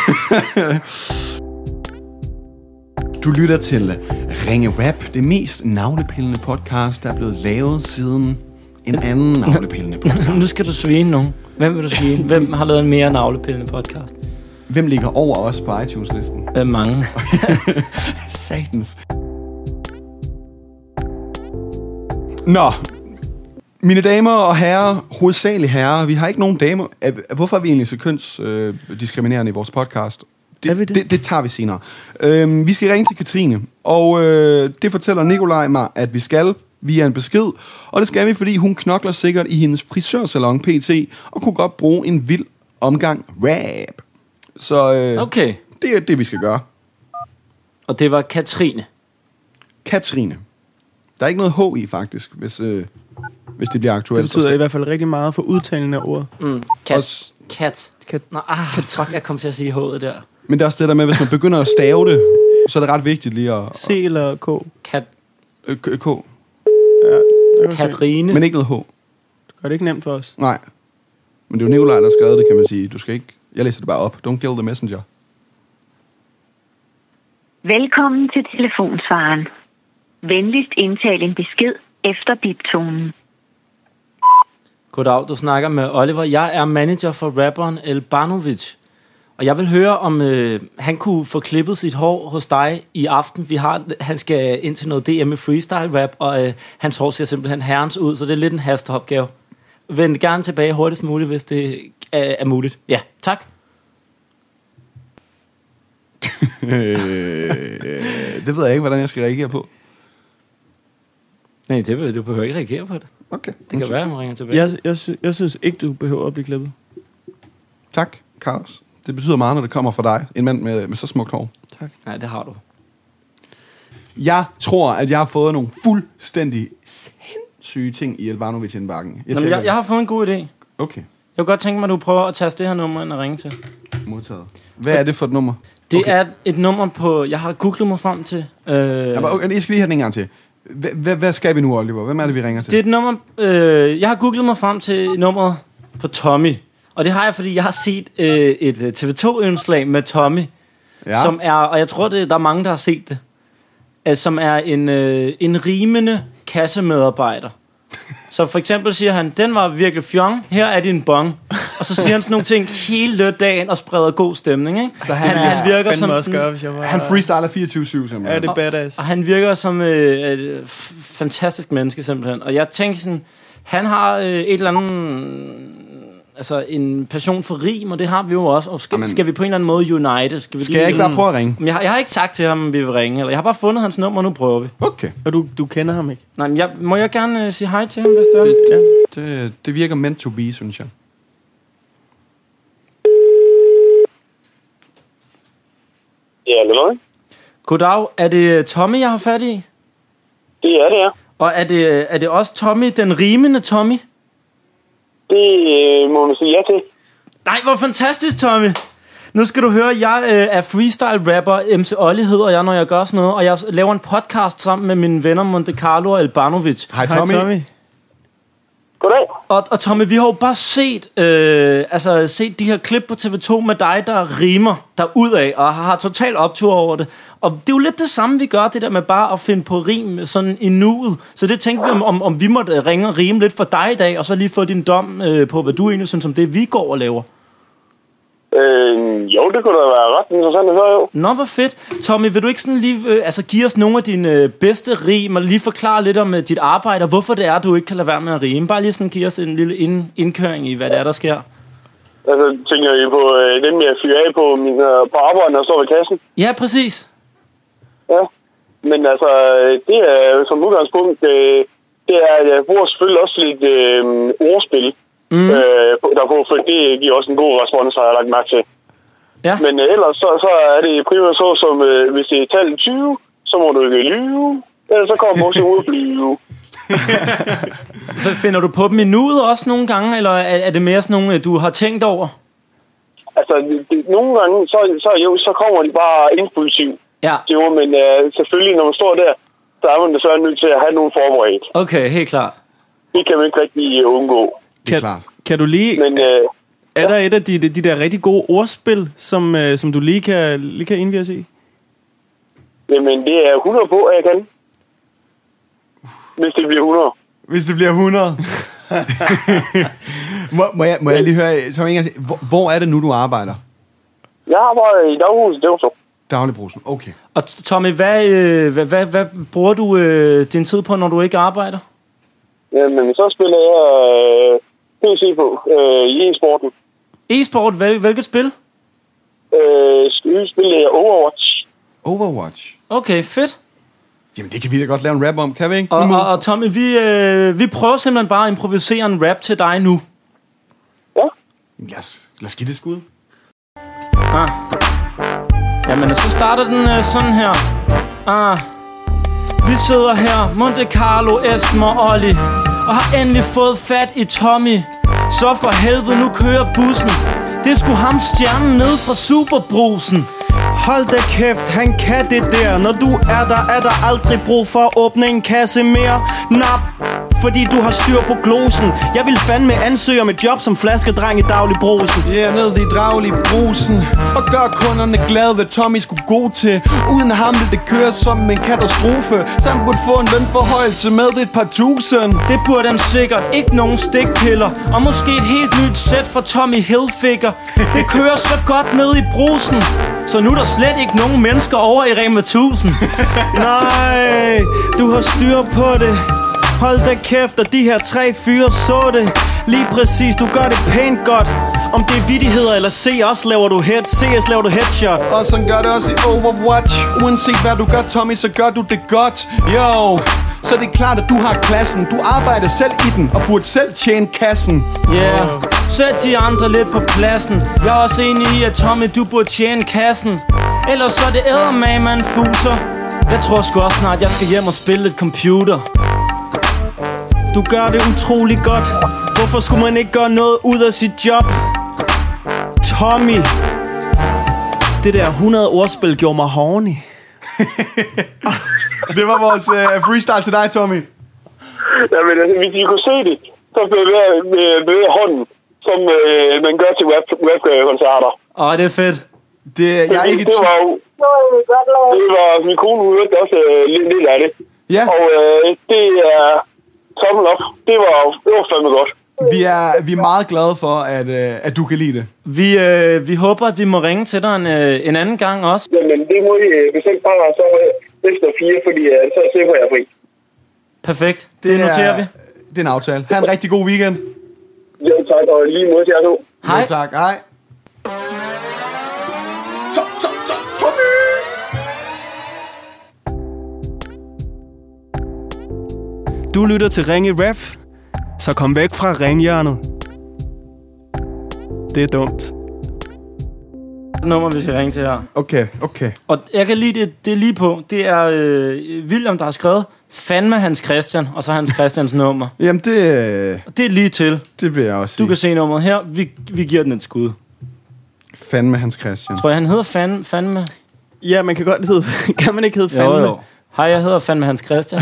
Speaker 2: Du lytter til Ringe Rap, det mest navlepillende podcast, der er blevet lavet siden en anden navlepillende podcast.
Speaker 1: nu skal du svine nogen. Hvem vil du svine? Hvem har lavet en mere navlepillende podcast?
Speaker 2: Hvem ligger over os på iTunes-listen?
Speaker 1: Øh, mange.
Speaker 2: Satans. Nå, mine damer og herrer, hovedsageligt herrer, vi har ikke nogen damer. Øh, Hvorfor er vi egentlig så kønsdiskriminerende i vores podcast? Det,
Speaker 1: Er vi det?
Speaker 2: det, det tager vi senere. Øhm, vi skal ringe til Katrine, og øh, det fortæller Nikolaj mig, at vi skal via en besked. Og det skal vi, fordi hun knokler sikkert i hendes frisørsalon PT, og kunne godt bruge en vild omgang rap. Så øh, okay.
Speaker 1: Okay.
Speaker 2: det er det, vi skal gøre.
Speaker 1: Og det var Katrine.
Speaker 2: Katrine. Der er ikke noget H i, faktisk, hvis, øh, hvis det bliver aktuelt.
Speaker 3: Det betyder i hvert fald rigtig meget for udtalen af ordet.
Speaker 1: Mm. Kat.
Speaker 2: Også-
Speaker 1: Kat.
Speaker 3: Kat-
Speaker 1: Nå, ah, fuck, jeg kom til at sige H'et der.
Speaker 2: Men der er også det der med, hvis man begynder at stave det, så er det ret vigtigt lige at...
Speaker 3: C eller K?
Speaker 1: Kat,
Speaker 2: Øh, k- K,
Speaker 3: Der kan du se.
Speaker 1: Katrine.
Speaker 2: men ikke noget H.
Speaker 3: Gør det ikke nemt for os?
Speaker 2: Nej. Men det er jo Nikolaj, der har skrevet det, kan man sige. Du skal ikke... Jeg læser det bare op. Don't kill the messenger.
Speaker 8: Velkommen til telefonsvaren. Venligst indtal en besked efter biptonen.
Speaker 1: Goddag, du snakker med Oliver. Jeg er manager for rapperen El Banovic. Og jeg vil høre, om øh, han kunne få klippet sit hår hos dig i aften. Vi har, han skal ind til noget DM med freestyle rap, og øh, hans hår ser simpelthen herrens ud, så det er lidt en hasteopgave. Vend gerne tilbage hurtigst muligt, hvis det øh, er muligt. Ja, tak.
Speaker 2: Øh, det ved jeg ikke, hvordan jeg skal reagere på.
Speaker 1: Nej, det vil du behøver ikke reagere på det.
Speaker 2: Okay.
Speaker 1: Det kan være, han ringer tilbage.
Speaker 3: Jeg, jeg, sy- jeg synes ikke, du behøver at blive klippet.
Speaker 2: Tak, Carlos. Det betyder meget, når det kommer fra dig. En mand med, med så smukt hår.
Speaker 1: Nej, det har du.
Speaker 2: Jeg tror, at jeg har fået nogle fuldstændig sindssyge ting i Elvanovic indbakken. Jeg,
Speaker 1: Nå, men
Speaker 2: tjekker
Speaker 1: jeg,
Speaker 2: det.
Speaker 1: jeg har fået en god idé.
Speaker 2: Okay,
Speaker 1: Jeg kunne godt tænke mig, at du prøver at taste det her nummer ind og ringe til.
Speaker 2: modtaget. Hvad er det for et nummer?
Speaker 1: Det
Speaker 2: Okay.
Speaker 1: okay. er et nummer på... Jeg har googlet mig frem til. Øh,
Speaker 2: Ja, men okay, jeg skal lige have den en gang til. Hva- hva- Hvad skal vi nu, Oliver? Hvem er det, vi ringer til?
Speaker 1: Det er et nummer... Øh, jeg har googlet mig frem til nummeret på Tommy. Og det har jeg, fordi jeg har set øh, et øh, TV2-indslag med Tommy, ja. som er... Og jeg tror, det, der er mange, der har set det. Øh, som er en, øh, en rimende kassemedarbejder. Så for eksempel siger han, den var virkelig fjong, her er din bong. Og så siger han sådan nogle ting hele dagen og spreder god stemning, ikke?
Speaker 2: Så han er-
Speaker 1: virker
Speaker 3: Fandme
Speaker 1: som
Speaker 3: også
Speaker 1: den-
Speaker 3: gøre, hvis jeg var...
Speaker 2: han freestyler 24-7, simpelthen.
Speaker 3: er det badass?
Speaker 1: Og han virker som øh, et øh, f- fantastisk menneske simpelthen. Og jeg tænkte sådan, han har øh, et eller andet... Altså en passion for rim, og det har vi jo også. Og skal,
Speaker 2: Jamen.
Speaker 1: skal vi på en eller anden måde unite? Skal, vi
Speaker 2: Skal jeg ikke bare prøve at ringe?
Speaker 1: Men jeg, har- jeg har ikke sagt til ham, at vi vil ringe. Eller jeg har bare fundet hans nummer, og nu prøver vi.
Speaker 2: Okay.
Speaker 3: Og du, du kender ham ikke?
Speaker 1: Nej, men jeg, må jeg gerne øh, sige hej til ham, hvis det er?
Speaker 2: Det,
Speaker 3: Ja.
Speaker 2: det, det virker meant to be, synes jeg.
Speaker 5: Ja, eller noget?
Speaker 1: Goddag, er det øh, Tommy, jeg har fat i?
Speaker 5: Det er det, ja.
Speaker 1: Og er det, øh, er det også Tommy, den rimende Tommy?
Speaker 5: Det øh, må man sige ja til.
Speaker 1: Nej, hvor fantastisk, Tommy! Nu skal du høre, jeg øh, er freestyle-rapper, MC Olli hedder jeg, når jeg gør sådan noget, og jeg laver en podcast sammen med mine venner Monte Carlo og Elbanovic.
Speaker 2: Hej Tommy.
Speaker 3: Hej, Tommy.
Speaker 5: Goddag.
Speaker 1: Og, og Tommy, vi har jo bare set, øh, altså, set de her klip på TV2 med dig, der rimer derudad, og har, har total optur over det. Og det er jo lidt det samme, vi gør, det der med bare at finde på rim sådan i nuet. Så det tænkte vi, om, om, om vi måtte øh, ringe og rime lidt for dig i dag, og så lige få din dom øh, på, hvad du egentlig synes om det, vi går og laver.
Speaker 5: Øh, jo, det kunne da være ret interessant at høre, jo.
Speaker 1: Nå, hvor fedt. Tommy, vil du ikke sådan lige øh, altså, give os nogle af dine øh, bedste rim, og lige forklare lidt om øh, dit arbejde, og hvorfor det er, du ikke kan lade være med at rime? Bare lige sådan give os en lille ind, indkøring i, hvad det er, der sker.
Speaker 5: Altså, tænker I på øh, den med at fyre af på, min, øh, på arbejderne, der står ved kassen?
Speaker 1: Ja, præcis.
Speaker 5: Ja. Men altså, øh, det er jo som udgangspunkt, øh, det er, at jeg bruger selvfølgelig også lidt øh, ordspil mm. øh, derpå, for det giver også en god respons, har jeg lagt mærke til.
Speaker 1: Ja.
Speaker 5: Men øh, ellers så, så er det primært så, som øh, hvis det er tallet 20, så må du ikke lyve, ellers så kommer også ud at blive.
Speaker 1: F- Finder du på dem i nuet også nogle gange, eller er, er det mere sådan nogle, øh, du har tænkt over?
Speaker 5: Altså, det, det, nogle gange, så, så, jo, så kommer de bare impulsivt.
Speaker 1: Ja,
Speaker 5: Det var, men øh, selvfølgelig, når man står der, så er man desværre nødt til at have nogen forberedt.
Speaker 1: okay, helt klart.
Speaker 5: Det kan man ikke rigtig øh, undgå.
Speaker 2: Det er
Speaker 3: Kan,
Speaker 2: klart.
Speaker 3: kan du lige...
Speaker 5: Men øh,
Speaker 3: Er der et af de, de der rigtig gode ordspil, som, øh, som du lige kan, lige kan indvige os i?
Speaker 5: jamen, det er 100 på, at jeg kan. Hvis det bliver 100.
Speaker 2: Hvis det bliver 100. må, må, jeg, må jeg lige høre, Tom Inger, hvor, hvor er det nu, du arbejder?
Speaker 5: Jeg arbejder i daghuset, det var så.
Speaker 2: Dagligbrusen. Okay.
Speaker 1: Og t- Tommy, hvad, øh, hvad, hvad, hvad bruger du øh, din tid på, når du ikke arbejder?
Speaker 5: Jamen, så spiller jeg øh, PC på øh, i e-sporten.
Speaker 1: E-sport, hvil, hvilket spil?
Speaker 5: Øh, sk- spiller jeg Overwatch.
Speaker 2: Overwatch.
Speaker 1: Okay, fedt.
Speaker 2: Jamen, det kan vi da godt lave en rap om, kan vi ikke?
Speaker 1: Og,
Speaker 2: Nu må-
Speaker 1: og, og Tommy, vi, øh, vi prøver simpelthen bare at improvisere en rap til dig nu.
Speaker 5: Ja,
Speaker 2: Lad os, lad os give det et skud.
Speaker 1: Ah. Jamen, og så starter den øh, sådan her. Ah. Vi sidder her, Monte Carlo, Esmer og Olli, og har endelig fået fat i Tommy. Så for helvede, nu kører bussen. Det skulle ham stjernen ned fra Superbrusen.
Speaker 3: Hold da kæft, han kan det der Når du er der, er der aldrig brug for at åbne en kasse mere Nap, fordi du har styr på glosen Jeg vil fandme ansøge om et job som flaskedreng i dagligbrusen
Speaker 2: Ja, yeah, ned i draglig brusen Og gør kunderne glade, hvad Tommy skulle gå til Uden ham ville det køre som en katastrofe Så han burde få en lønforhøjelse med et par tusind
Speaker 1: Det burde han sikkert ikke nogen stikpiller Og måske et helt nyt sæt fra Tommy Hilfiger Det kører så godt ned i brusen Så nu er der slet ikke nogen mennesker over i Rema 1000
Speaker 3: Nej, du har styr på det Hold da kæft, og de her tre fyre så det Lige præcis, du gør det pænt godt Om det er vittigheder eller CS, laver du head CS laver du headshot
Speaker 2: Og sådan gør det også i Overwatch Uanset hvad du gør, Tommy, så gør du det godt Yo så det er klart, at du har klassen Du arbejder selv i den Og burde selv tjene kassen
Speaker 1: Yeah Sæt de andre lidt på pladsen Jeg er også enig i, at Tommy, du burde tjene kassen Ellers så er det eddermame, man fuser Jeg tror sgu også snart, jeg skal hjem og spille lidt computer
Speaker 3: Du gør det utrolig godt Hvorfor skulle man ikke gøre noget ud af sit job? Tommy Det der 100 ordspil gjorde mig horny
Speaker 2: Det var vores øh, freestyle til dig, Tommy
Speaker 5: jamen, altså, hvis I kunne se det, så bevæger, øh, bevæger hånden, som øh, man gør til rap- rap-koncerter.
Speaker 1: Åh, det er fedt
Speaker 2: det, Jeg er ikke i
Speaker 5: det
Speaker 2: tvivl
Speaker 5: var jo... Det var min kone, hun hørte også øh, lidt, lidt af det.
Speaker 2: Ja,
Speaker 5: Og øh, det er... Tommel op. Det var, det var fandme godt.
Speaker 2: vi er, vi er meget glade for, at, øh, at du kan lide det
Speaker 1: Vi, øh, vi håber, at vi må ringe til dig en, øh, en anden gang også
Speaker 5: Jamen, det må I øh, bestemt bare så øh, efter fire, fordi øh, så slipper jeg fri.
Speaker 1: Perfekt, det, det noterer
Speaker 2: er,
Speaker 1: vi
Speaker 2: Det er en aftale Ha' en rigtig god weekend
Speaker 5: Jo, tak, og lige mod til jer to.
Speaker 1: Hej.
Speaker 2: Jo, tak. Hej. To- to- to- Tommy!
Speaker 3: Du lytter til Ringe Rap Så kom væk fra ringhjørnet Det er dumt
Speaker 1: nummer, vi skal ringe til her.
Speaker 2: Okay, okay.
Speaker 1: Og jeg kan lide det, det er lige på. Det er øh, William, der har skrevet fandme Hans Christian, og så Hans Christians nummer.
Speaker 2: Jamen, det, øh,
Speaker 1: Og det er lige til.
Speaker 2: det vil jeg også
Speaker 1: Du
Speaker 2: sige.
Speaker 1: kan se nummeret her. Vi, vi giver den et skud.
Speaker 2: Fandme Hans Christian.
Speaker 1: Tror jeg, han hedder fan, fandme?
Speaker 3: Ja, man kan godt hedde... Kan man ikke hedde fandme?
Speaker 1: Jo, jo. Hej, jeg hedder fandme Hans Christian.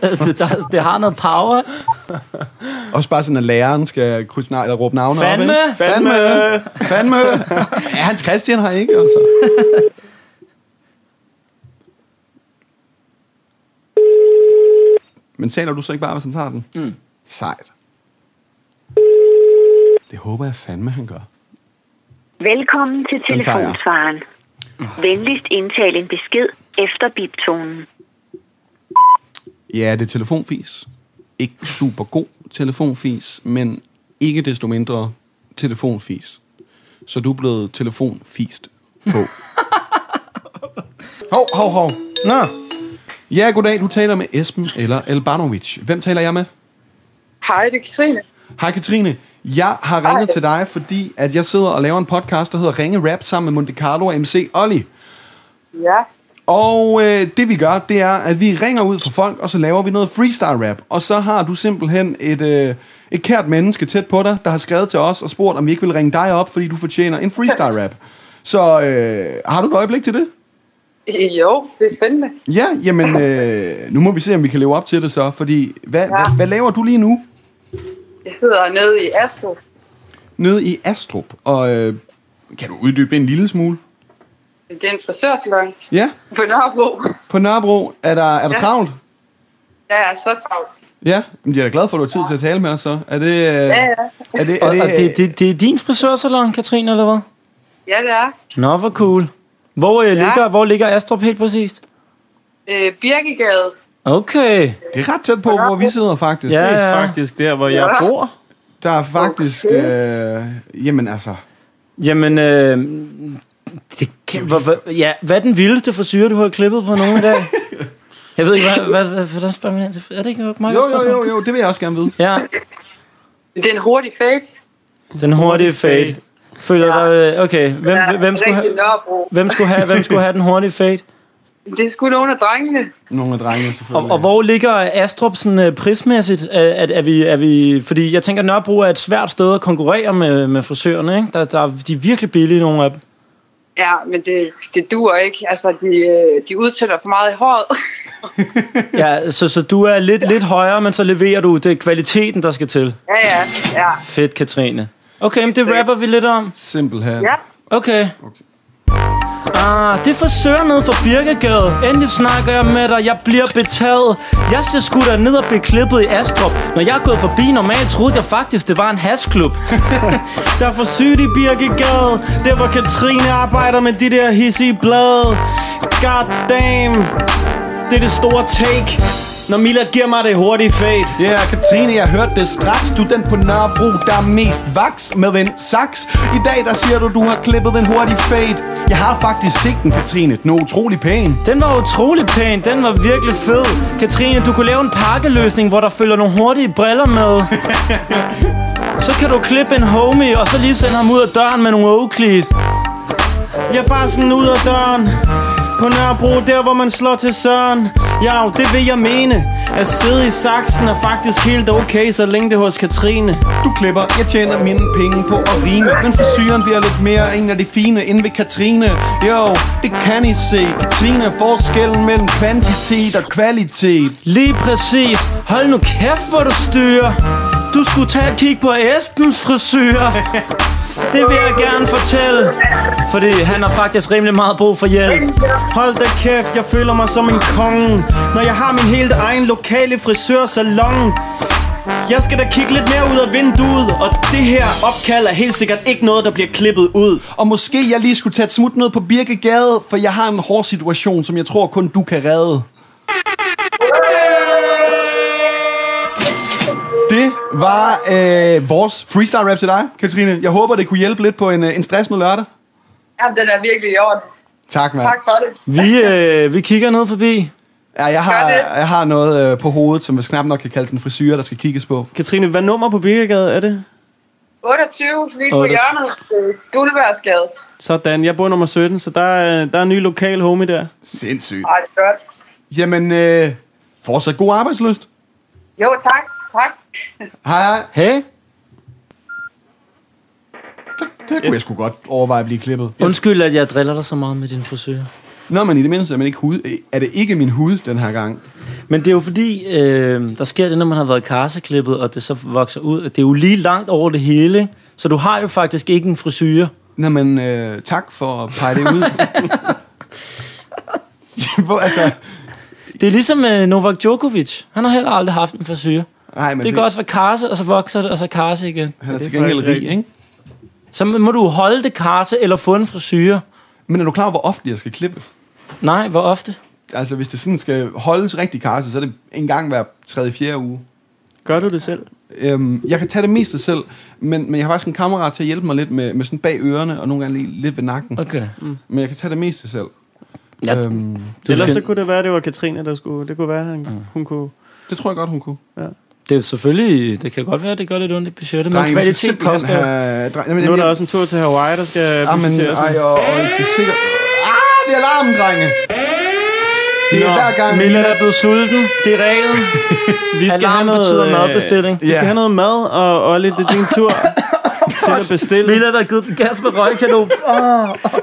Speaker 1: det, der, det har noget power.
Speaker 2: Også bare sådan, at læreren skal krydse navn, eller råbe navne op,
Speaker 1: Fandme!
Speaker 2: ikke? Fandme! Fandme! Ja, Hans Christian har ikke, altså. Men taler du så ikke bare, hvis han tager den? Mm. Sejt. Det håber jeg fandme, han gør.
Speaker 8: Velkommen til
Speaker 2: Den tager jeg.
Speaker 8: telefonsvaren. Venligst indtale en besked efter biptonen.
Speaker 2: Ja, det er telefonfis. Ikke super god telefonfis, men ikke desto mindre telefonfis. Så du er blevet telefonfist på. hov, hov, hov.
Speaker 1: Nå,
Speaker 2: Ja, goddag. Du taler med Esben eller Elbanovic. Hvem taler jeg med?
Speaker 7: Hej, det er Katrine.
Speaker 2: Hej Katrine. Jeg har ringet til dig, fordi at jeg sidder og laver en podcast, der hedder Ringe Rap sammen med Monte Carlo og MC Olli.
Speaker 7: Ja.
Speaker 2: Og øh, det vi gør, det er, at vi ringer ud for folk, og så laver vi noget freestyle rap. Og så har du simpelthen et, øh, et kært menneske tæt på dig, der har skrevet til os og spurgt, om vi ikke vil ringe dig op, fordi du fortjener en freestyle rap. Så øh, har du et øjeblik til det?
Speaker 7: Jo, det er spændende.
Speaker 2: Ja, jamen øh, nu må vi se, om vi kan leve op til det så. Fordi hvad, ja. hvad, hvad laver du lige nu
Speaker 7: Jeg sidder nede i Astro.
Speaker 2: nede i Astrup? Og øh, kan du uddybe det en lille smule?
Speaker 7: Det er en frisørsalon
Speaker 2: Ja,
Speaker 7: på Nørrebro.
Speaker 2: på Nørrebro. Er der, er der ja.
Speaker 7: Ja.
Speaker 2: travlt?
Speaker 7: Jeg er så travlt.
Speaker 2: Ja, men jeg er da glad for, at du har tid til at tale med os så. Er det... Øh,
Speaker 7: Ja, ja.
Speaker 2: Er det, er
Speaker 1: og,
Speaker 2: det,
Speaker 1: og det, det, det er din frisørsalon, Katrine, eller hvad?
Speaker 7: Ja, det er.
Speaker 1: Nå, hvor cool. Hvor, øh, ligger, hvor ligger Astrup helt præcist?
Speaker 7: Øh, Birkegade.
Speaker 1: Okay.
Speaker 2: Det er ret tæt på, hvor vi sidder faktisk.
Speaker 1: Ja,
Speaker 3: Det er
Speaker 1: ja.
Speaker 3: faktisk der, hvor jeg bor.
Speaker 2: Der er faktisk... Øh, jamen altså...
Speaker 1: Jamen, øh, det, kan- hvor, hvor, ja, hvad er den vildeste forsyre, du har klippet på nogen i dag? Jeg ved ikke, hvad, hvad, hvad, hvordan spørger man hen til? Er det ikke meget?
Speaker 2: Jo, jo, jo, jo, det vil jeg også gerne vide.
Speaker 1: Ja,
Speaker 7: Det er en hurtig fade.
Speaker 1: den hurtige fade. Føler ja. dig, øh, okay, hvem,
Speaker 7: Ja,
Speaker 1: ja, hvem, skulle
Speaker 7: rigtig
Speaker 1: have,
Speaker 7: Nørrebro.
Speaker 1: hvem, skulle have, hvem skulle have den hurtige fade?
Speaker 7: Det er sgu nogle af drengene.
Speaker 2: Nogle af drengene
Speaker 1: Og,
Speaker 2: selvfølgelig.
Speaker 1: og hvor ligger Astrup sådan, øh, prismæssigt? Er, er, er vi, er vi, fordi jeg tænker, Nørrebro er et svært sted at konkurrere med, med frisørerne. Ikke? Der, der, de er virkelig billige, nogle af dem.
Speaker 7: Ja, men det, det duer ikke. Altså, de, øh, de udtæller for meget i håret.
Speaker 1: Ja, så, så du er lidt, lidt højere, men så leverer du det er kvaliteten, der skal til.
Speaker 7: ja, ja, ja.
Speaker 1: Fedt, Katrine. Okay, men det rapper vi lidt om.
Speaker 2: Simpelthen.
Speaker 7: Ja.
Speaker 1: Okay. Ah, det forsøger ned for Birkegade. Endelig snakker jeg med dig, jeg bliver betaget. Jeg skal sgu da ned og blive klippet i Astrup. Når jeg er gået forbi normalt, troede jeg faktisk, det var en hasklub.
Speaker 3: Der er for sygt i Birkegade Der hvor Katrine arbejder med de der hissige blade God damn Det er det store take Når Milad giver mig det hurtige fade
Speaker 2: Ja, yeah, Katrine, jeg hørte det straks. Du er den på Nørrebro, der er mest vaks med en saks. I dag, der siger du, du har klippet en hurtig fade. Jeg har faktisk set den, Katrine. Den er utrolig pæn.
Speaker 1: Den var utrolig pæn, den var virkelig fed. Katrine, du kunne lave en pakkeløsning, hvor der følger nogle hurtige briller med. Så kan du klippe en homie, og så lige sende ham ud af døren med nogle Oakleys.
Speaker 3: Jeg er bare sådan ud af døren På Nørrebro, der hvor man slår til søren Ja, det vil jeg mene At sidde i saksen er faktisk helt okay Så længe det er hos Katrine
Speaker 2: Du klipper, jeg tjener mine penge på at rime Men frisyren bliver lidt mere en af de fine end ved Katrine Jo, det kan I se Katrine er forskellen mellem kvantitet og kvalitet
Speaker 1: Lige præcis. Hold nu kæft, hvor du styrer. Du skulle tage et kig på Esbens frisyr. Det vil jeg gerne fortælle. Fordi han har faktisk rimelig meget brug for hjælp.
Speaker 3: Hold da kæft, jeg føler mig som en konge Når jeg har min helt egen lokale frisørsalon Jeg skal da kigge lidt mere ud af vinduet Og det her opkald er helt sikkert ikke noget, der bliver klippet ud
Speaker 2: Og måske jeg lige skulle tage et smut ned på Birkegade For jeg har en hård situation, som jeg tror kun du kan redde Det var øh, vores freestyle rap til dig, Katrine. Jeg håber, det kunne hjælpe lidt på en, øh, en stressende lørdag.
Speaker 7: Jamen, den er virkelig i orden.
Speaker 2: Tak, mand.
Speaker 7: Tak for det.
Speaker 1: Vi, øh, vi kigger ned forbi.
Speaker 2: Ja, jeg har,
Speaker 7: Gør det.
Speaker 2: jeg har noget øh, på hovedet, som vist knap nok kan kaldes en frisyre, der skal kigges på.
Speaker 3: Katrine, hvad nummer på Birkegade er det?
Speaker 9: 28, lige på
Speaker 3: 28.
Speaker 9: hjørnet. Øh, Guldværsgade.
Speaker 3: Sådan, jeg bor nummer 17, så der, er- der er en ny lokal homie der.
Speaker 2: Sindssygt.
Speaker 9: Ej, det er godt.
Speaker 2: Jamen, øh, fortsat god arbejdsløst.
Speaker 9: Jo, tak. Tak.
Speaker 2: Hej, hej.
Speaker 1: Hey,
Speaker 2: Det kunne jeg sgu godt overveje at blive klippet.
Speaker 1: undskyld, at jeg driller dig så meget med din frisør.
Speaker 2: Nå, men i det mindste er, man ikke hud, er det ikke min hud den her gang.
Speaker 1: Men det er jo fordi, øh, der sker det, når man har været karseklippet, og det så vokser ud. at Det er jo lige langt over det hele, ikke? så du har jo faktisk ikke en frisyr.
Speaker 2: Nå, men øh, tak for at pege det ud. Hvor, altså,
Speaker 1: Det er ligesom øh, Novak Djokovic. Han har heller aldrig haft en frisyr.
Speaker 2: nej, men
Speaker 1: Det kan også være karse, og så vokser det, og så karse igen.
Speaker 2: han er
Speaker 3: det
Speaker 2: til
Speaker 3: er
Speaker 2: gengæld
Speaker 3: faktisk
Speaker 2: rig,
Speaker 3: rigtigt.
Speaker 2: ikke?
Speaker 1: Så må du holde det karse, eller få en frisyr.
Speaker 2: Men er du klar over, hvor ofte jeg skal klippes?
Speaker 1: Nej, hvor ofte?
Speaker 2: Altså, hvis det sådan skal holdes rigtig karse, så er det en gang hver tredje, fjerde uge.
Speaker 3: Gør du det selv?
Speaker 2: Øhm, jeg kan tage det meste selv, men, men jeg har faktisk en kammerat til at hjælpe mig lidt med, med sådan bag ørerne, og nogle gange lige lidt ved nakken.
Speaker 1: Okay.
Speaker 2: Men jeg kan tage det meste selv.
Speaker 1: Ja,
Speaker 2: Øhm,
Speaker 1: du
Speaker 3: Ellers så
Speaker 1: skal,
Speaker 3: kunne det være, at det var Katrine, der skulle... Det kunne være, han, hun kunne...
Speaker 2: det tror jeg godt, hun kunne.
Speaker 1: det er selvfølgelig, det kan godt være, at det gør lidt ondt i budgettet, men
Speaker 2: Drenge, vi skal
Speaker 1: kvalitet
Speaker 2: simpelthen
Speaker 1: koster jo.
Speaker 2: have- Drenge, jamen,
Speaker 3: Nu er der
Speaker 2: jeg-
Speaker 3: også en tur til Hawaii, der skal
Speaker 2: Jamen,
Speaker 3: budgetteres.
Speaker 2: ej, og, og det er sikkert... Ah, det er alarmen, drenge! Det er hver gang...
Speaker 1: Milla er blevet sulten, det er reglen.
Speaker 3: Vi skal
Speaker 1: Alarm
Speaker 3: have noget,
Speaker 1: betyder
Speaker 3: øh,
Speaker 1: madbestilling.
Speaker 3: Vi skal have noget mad, og Olle, det er din tur til at bestille.
Speaker 1: Milla, der har givet den gas med røgkanon.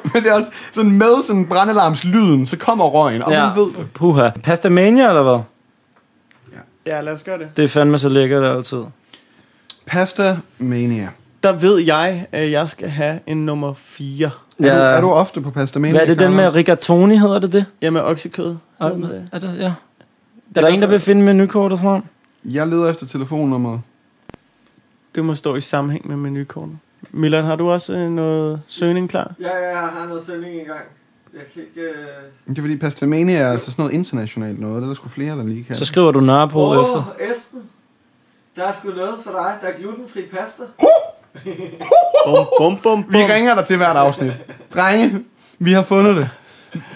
Speaker 2: Men det er også sådan med sådan brandalarmslyden, så kommer røgen, og ja. man ved...
Speaker 1: Puha. Pasta mania, eller hvad?
Speaker 3: Ja, lad os gøre det.
Speaker 1: Det er fandme så lækkert altid.
Speaker 2: Pasta mania.
Speaker 3: Der ved jeg, at jeg skal have en nummer 4.
Speaker 2: Er, du, er du ofte på pasta mania?
Speaker 1: Øh, hvad er det den med
Speaker 2: Carlos?
Speaker 1: rigatoni, hedder det det?
Speaker 3: Ja, med oksekød.
Speaker 1: Er,
Speaker 3: Hvad med det?
Speaker 1: er, der, ja. er der en, der vil finde menukortet frem?
Speaker 2: Jeg leder efter telefonnummeret.
Speaker 3: Det må stå i sammenhæng med menukortet. Milan, har du også øh, noget søgning klar?
Speaker 10: Ja, ja, jeg har noget søgning i gang. Jeg kan ikke... Øh...
Speaker 2: Det er fordi pasta mania er altså sådan noget internationalt noget. Der er der sgu flere, der lige kan.
Speaker 1: Så skriver du Nørrebro
Speaker 10: Åh,
Speaker 1: oh. efter.
Speaker 10: oh, Esben. Der er sgu noget for dig. Der er glutenfri pasta.
Speaker 3: Bum, bum, bum, bum.
Speaker 2: Vi ringer dig til hvert afsnit. Drenge, vi har fundet det.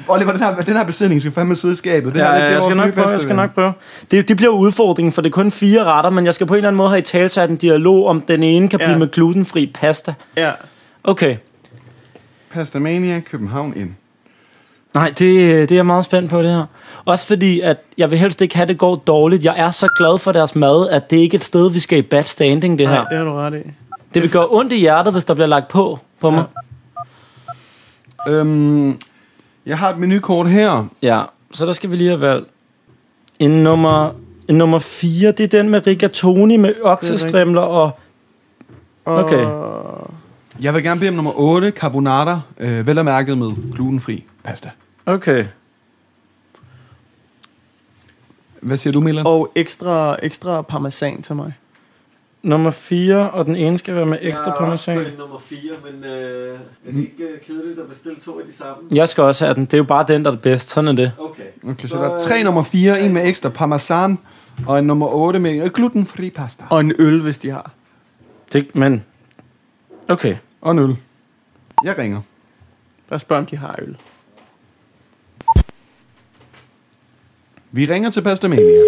Speaker 2: Oliver, den her, den her besætning skal fandme sidde i skabet. Det
Speaker 1: Ja,
Speaker 2: her, det,
Speaker 1: ja,
Speaker 2: det er
Speaker 1: jeg
Speaker 2: vores
Speaker 1: skal
Speaker 2: nye
Speaker 1: nok prøve, jeg
Speaker 2: bedste
Speaker 1: skal
Speaker 2: ven.
Speaker 1: nok prøve. Det, det bliver jo udfordringen, for det er kun fire retter, men jeg skal på en eller anden måde have i tale sat en dialog, om den ene kan
Speaker 3: Ja.
Speaker 1: blive med glutenfri pasta.
Speaker 3: Ja.
Speaker 1: Okay.
Speaker 2: Pasta mania, København ind.
Speaker 1: Nej, det, øh, det er jeg meget spændt på, det her. Også fordi, at jeg vil helst ikke have, at det går dårligt. Jeg er så glad for deres mad, at det ikke er et sted, vi skal i bad standing, det her.
Speaker 3: Nej, det har du ret i.
Speaker 1: Det vil gøre ondt i hjertet, hvis der bliver lagt på på mig.
Speaker 2: Øhm, jeg har et menukort her.
Speaker 1: Ja, så der skal vi lige have valgt. En nummer, en nummer 4, det er den med rigatoni med oksestrimler og...
Speaker 3: Og
Speaker 1: Okay.
Speaker 2: Jeg vil gerne bede om nummer 8, carbonata, øh, vel og mærket med glutenfri pasta.
Speaker 1: Okay.
Speaker 2: Hvad siger du, Milan?
Speaker 3: Og ekstra, ekstra parmesan til mig.
Speaker 1: Nummer 4, og den ene skal være med ekstra
Speaker 10: jeg er
Speaker 1: parmesan.
Speaker 10: også på en nummer 4, men øh, er det ikke øh, kedeligt at bestille to af de samme?
Speaker 1: Jeg skal også have den. Det er jo bare den, der er bedst. Sådan er det.
Speaker 10: Okay.
Speaker 2: Okay, så der er tre nummer 4, en med ekstra parmesan, og en nummer 8 med glutenfri pasta.
Speaker 3: Og en øl, hvis de har.
Speaker 1: det men... Okay.
Speaker 2: Og en øl. Jeg ringer.
Speaker 3: Bare spørg, om de har øl.
Speaker 2: Vi ringer til Pasta Mania.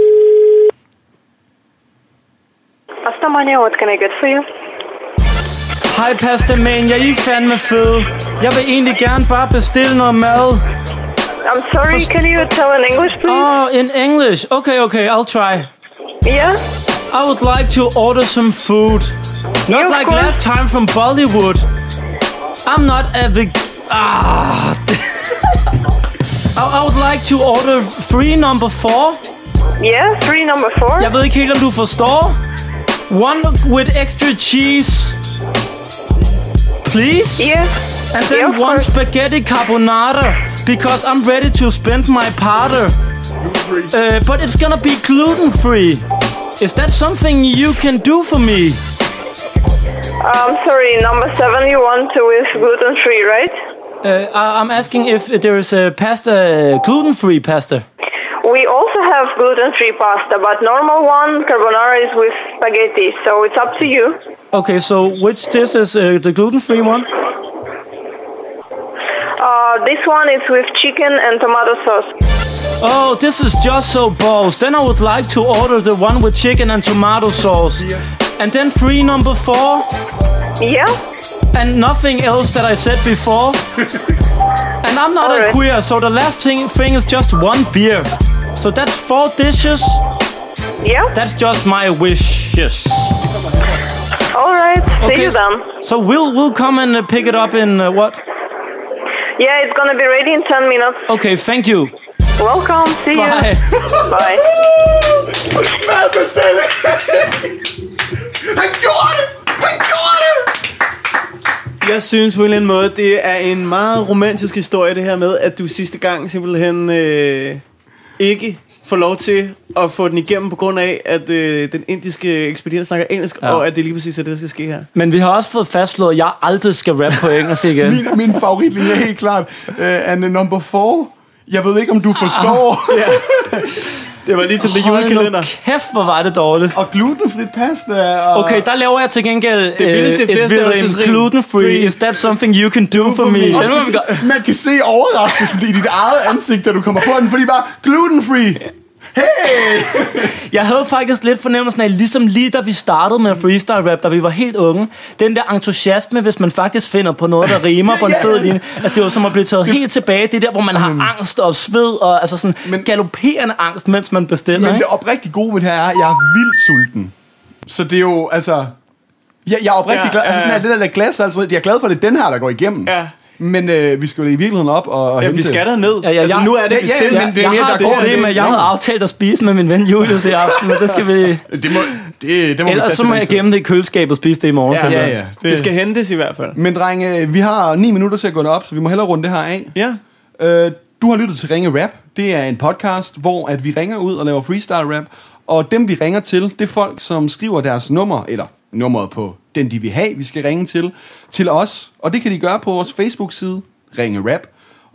Speaker 8: Pasta money, what can I get for you?
Speaker 1: Hej Pasta Mania, I er fandme fede. Jeg vil egentlig gerne bare bestille noget mad.
Speaker 8: I'm sorry, can you tell in English, please?
Speaker 1: Oh, in English. Okay, okay, I'll try.
Speaker 8: yeah?
Speaker 1: I would like to order some food. Not
Speaker 8: of
Speaker 1: like
Speaker 8: course.
Speaker 1: last time from Bollywood. I'm not a veg... Ah. I, I would like to order free number four.
Speaker 8: Yeah? Three number four?
Speaker 1: Jeg ved ikke helt, om du forstår. One with extra cheese. Please?
Speaker 8: Yeah?
Speaker 1: And then
Speaker 8: Yeah, of
Speaker 1: one
Speaker 8: course.
Speaker 1: spaghetti carbonara because I'm ready to spend my powder. Uh, but it's gonna be gluten free. Is that something you can do for me? Uh,
Speaker 8: I'm Um, sorry, number seven you want to with gluten free, right?
Speaker 1: Uh, I- I'm asking if there is a pasta, gluten free pasta.
Speaker 8: We also have gluten free pasta, but normal one, carbonara is with spaghetti, so it's up to you.
Speaker 1: Okay, so which dish is uh, the gluten free one?
Speaker 8: Uh, this one is with chicken and tomato sauce.
Speaker 1: Oh, this is just so balls. Then I would like to order the one with chicken and tomato sauce. And then three number four.
Speaker 8: Yeah.
Speaker 1: And nothing else that I said before. and I'm not a queer, so the last thing, thing is just one beer. So that's four dishes.
Speaker 8: Yeah.
Speaker 1: That's just my wishes.
Speaker 8: All right. See you then.
Speaker 1: So we'll we'll come and uh, pick it up in uh, what?
Speaker 8: Yeah, it's gonna be ready in 10 minutes.
Speaker 1: Okay, thank you.
Speaker 8: Welcome. See
Speaker 1: Bye.
Speaker 8: you. Bye.
Speaker 11: Madbestilling! Han gjorde det! Han gjorde det!
Speaker 3: Jeg synes på en eller anden måde, det er en meget romantisk historie, det her med, at du sidste gang simpelthen øh, ikke får lov til at få den igennem på grund af, at øh, den indiske ekspedient snakker engelsk,
Speaker 1: Ja.
Speaker 3: ja. og at det lige præcis er det, der skal ske her.
Speaker 1: Men vi har også fået fastslået, at jeg aldrig skal rappe på engelsk igen.
Speaker 2: Min, min favoritlinje er helt klart uh, Anne number 4. Jeg ved ikke, om du forstår.
Speaker 3: ja. Det var lige til det
Speaker 1: julekalender. kæft, hvor var det dårligt.
Speaker 2: Og glutenfrit pasta. Og...
Speaker 1: Okay, der laver jeg til gengæld
Speaker 2: Det vildeste
Speaker 1: øh, et
Speaker 2: flerstavelsesrim.
Speaker 1: gluten free. If that's something you can do for me. Den
Speaker 2: Også
Speaker 1: var vi
Speaker 2: fordi,
Speaker 1: godt-
Speaker 2: man kan se overraskelsen i dit eget ansigt, da du kommer på den, fordi bare gluten-free. Hey!
Speaker 1: Jeg havde faktisk lidt fornemmelsen af, ligesom lige da vi startede med freestyle rap, da vi var helt unge, den der entusiasme, hvis man faktisk finder på noget, der rimer på en fed linje, altså det var som at blive taget helt tilbage, det der, hvor man
Speaker 2: Mm.
Speaker 1: har angst og sved, og altså sådan men, galopperende angst, mens man bestiller,
Speaker 2: Men
Speaker 1: ikke?
Speaker 2: det oprigtigt gode ved det her er, at jeg er vildt sulten. Så det er jo, altså... Jeg, jeg er oprigtigt
Speaker 1: Ja,
Speaker 2: ja, glad. Altså,
Speaker 1: ja.
Speaker 2: sådan her, det der, der glas, altså, jeg er glad for, at det er den her, der går igennem. Ja. Men øh, vi skal jo i virkeligheden op og, og
Speaker 3: Ja, vi
Speaker 2: hente-
Speaker 3: skal derned. Ja, ja, Altså, jeg- nu er det
Speaker 2: Ja,
Speaker 3: bestilt.
Speaker 2: ja, men det er
Speaker 1: jeg
Speaker 2: mere,
Speaker 1: har
Speaker 2: der går
Speaker 1: det, men jeg havde aftalt at spise med min ven Julius i aften, men det skal vi...
Speaker 2: Det må, det, det må vi
Speaker 1: Ellers så
Speaker 2: tage til
Speaker 1: må
Speaker 2: den
Speaker 1: jeg
Speaker 2: tid.
Speaker 1: gemme det i køleskabet og spise det i morgen.
Speaker 2: Ja,
Speaker 1: simpelthen.
Speaker 2: ja, ja. Det skal
Speaker 3: hentes i hvert fald.
Speaker 2: Men drenge, øh, vi har 9 minutter til at gå derop, så vi må hellere runde det her af.
Speaker 3: Ja.
Speaker 2: Øh, du har lyttet til Ringe Rap. Det er en podcast, hvor at vi ringer ud og laver freestyle rap. Og dem vi ringer til, det er folk, som skriver deres nummer, eller nummeret på den, de vil have, vi skal ringe til, til os. Og det kan de gøre på vores Facebook-side, Ringe Rap.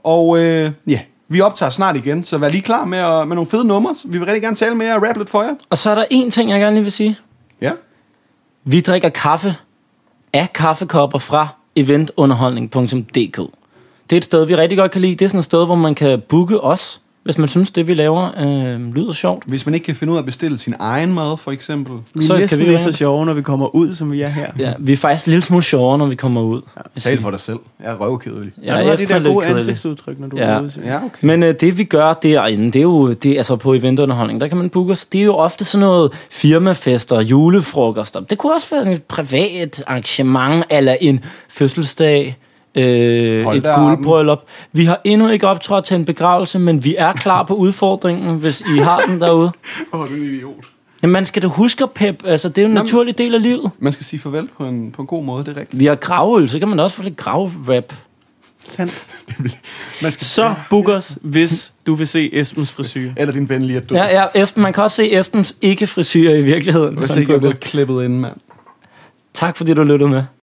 Speaker 2: Og øh, ja, vi optager snart igen, så vær lige klar med, at, med nogle fede numre. Vi vil rigtig gerne tale med jer og rap lidt for jer.
Speaker 1: Og så er der en ting, jeg gerne lige vil sige.
Speaker 2: Ja.
Speaker 1: Vi drikker kaffe af kaffekopper fra eventunderholdning.dk. Det er et sted, vi rigtig godt kan lide. Det er sådan et sted, hvor man kan booke os, hvis man synes, det vi laver øh, lyder sjovt.
Speaker 2: Hvis man ikke kan finde ud af at bestille sin egen mad, for eksempel.
Speaker 3: Vi er så næsten lige så sjove, når vi kommer ud, som vi er her.
Speaker 1: Ja, vi er faktisk en lille smule sjovere, når vi kommer ud. Ja,
Speaker 2: tal for dig selv. Jeg er røvkedelig.
Speaker 3: Ja, du har de
Speaker 1: Esben er
Speaker 3: der
Speaker 1: lidt
Speaker 3: gode
Speaker 1: kedelig.
Speaker 3: ansigtsudtryk, når du
Speaker 1: ja.
Speaker 3: er ude.
Speaker 2: Ja, okay.
Speaker 1: Men øh, det vi gør derinde, det er jo det, altså på eventunderholdning, der kan man booke os. Det er jo ofte sådan noget firmafester, julefrokoster. Det kunne også være sådan et privat arrangement, eller en fødselsdag, øh,
Speaker 2: Hold
Speaker 1: et
Speaker 2: da armen.
Speaker 1: guldbryllup. Vi har endnu ikke optrådt til en begravelse, men vi er klar på udfordringen, hvis I har den derude.
Speaker 2: Åh, oh, du er en idiot.
Speaker 1: Men man skal da huske at pep, altså det er jo en naturlig del af livet.
Speaker 2: Man skal sige farvel på en, på en god måde, det er rigtigt.
Speaker 1: Vi har gravøl, så kan man da også få lidt gravrap.
Speaker 3: Sandt. Man skal så book os, hvis du vil se Esbens frisyr.
Speaker 2: Eller din ven lige er
Speaker 1: Ja, ja, Esben, man kan også se Esbens ikke-frisyrer i virkeligheden.
Speaker 2: Hvis
Speaker 1: Sådan
Speaker 2: ikke jeg
Speaker 1: på-
Speaker 2: bliver klippet ind, mand.
Speaker 1: Tak fordi du lyttede med.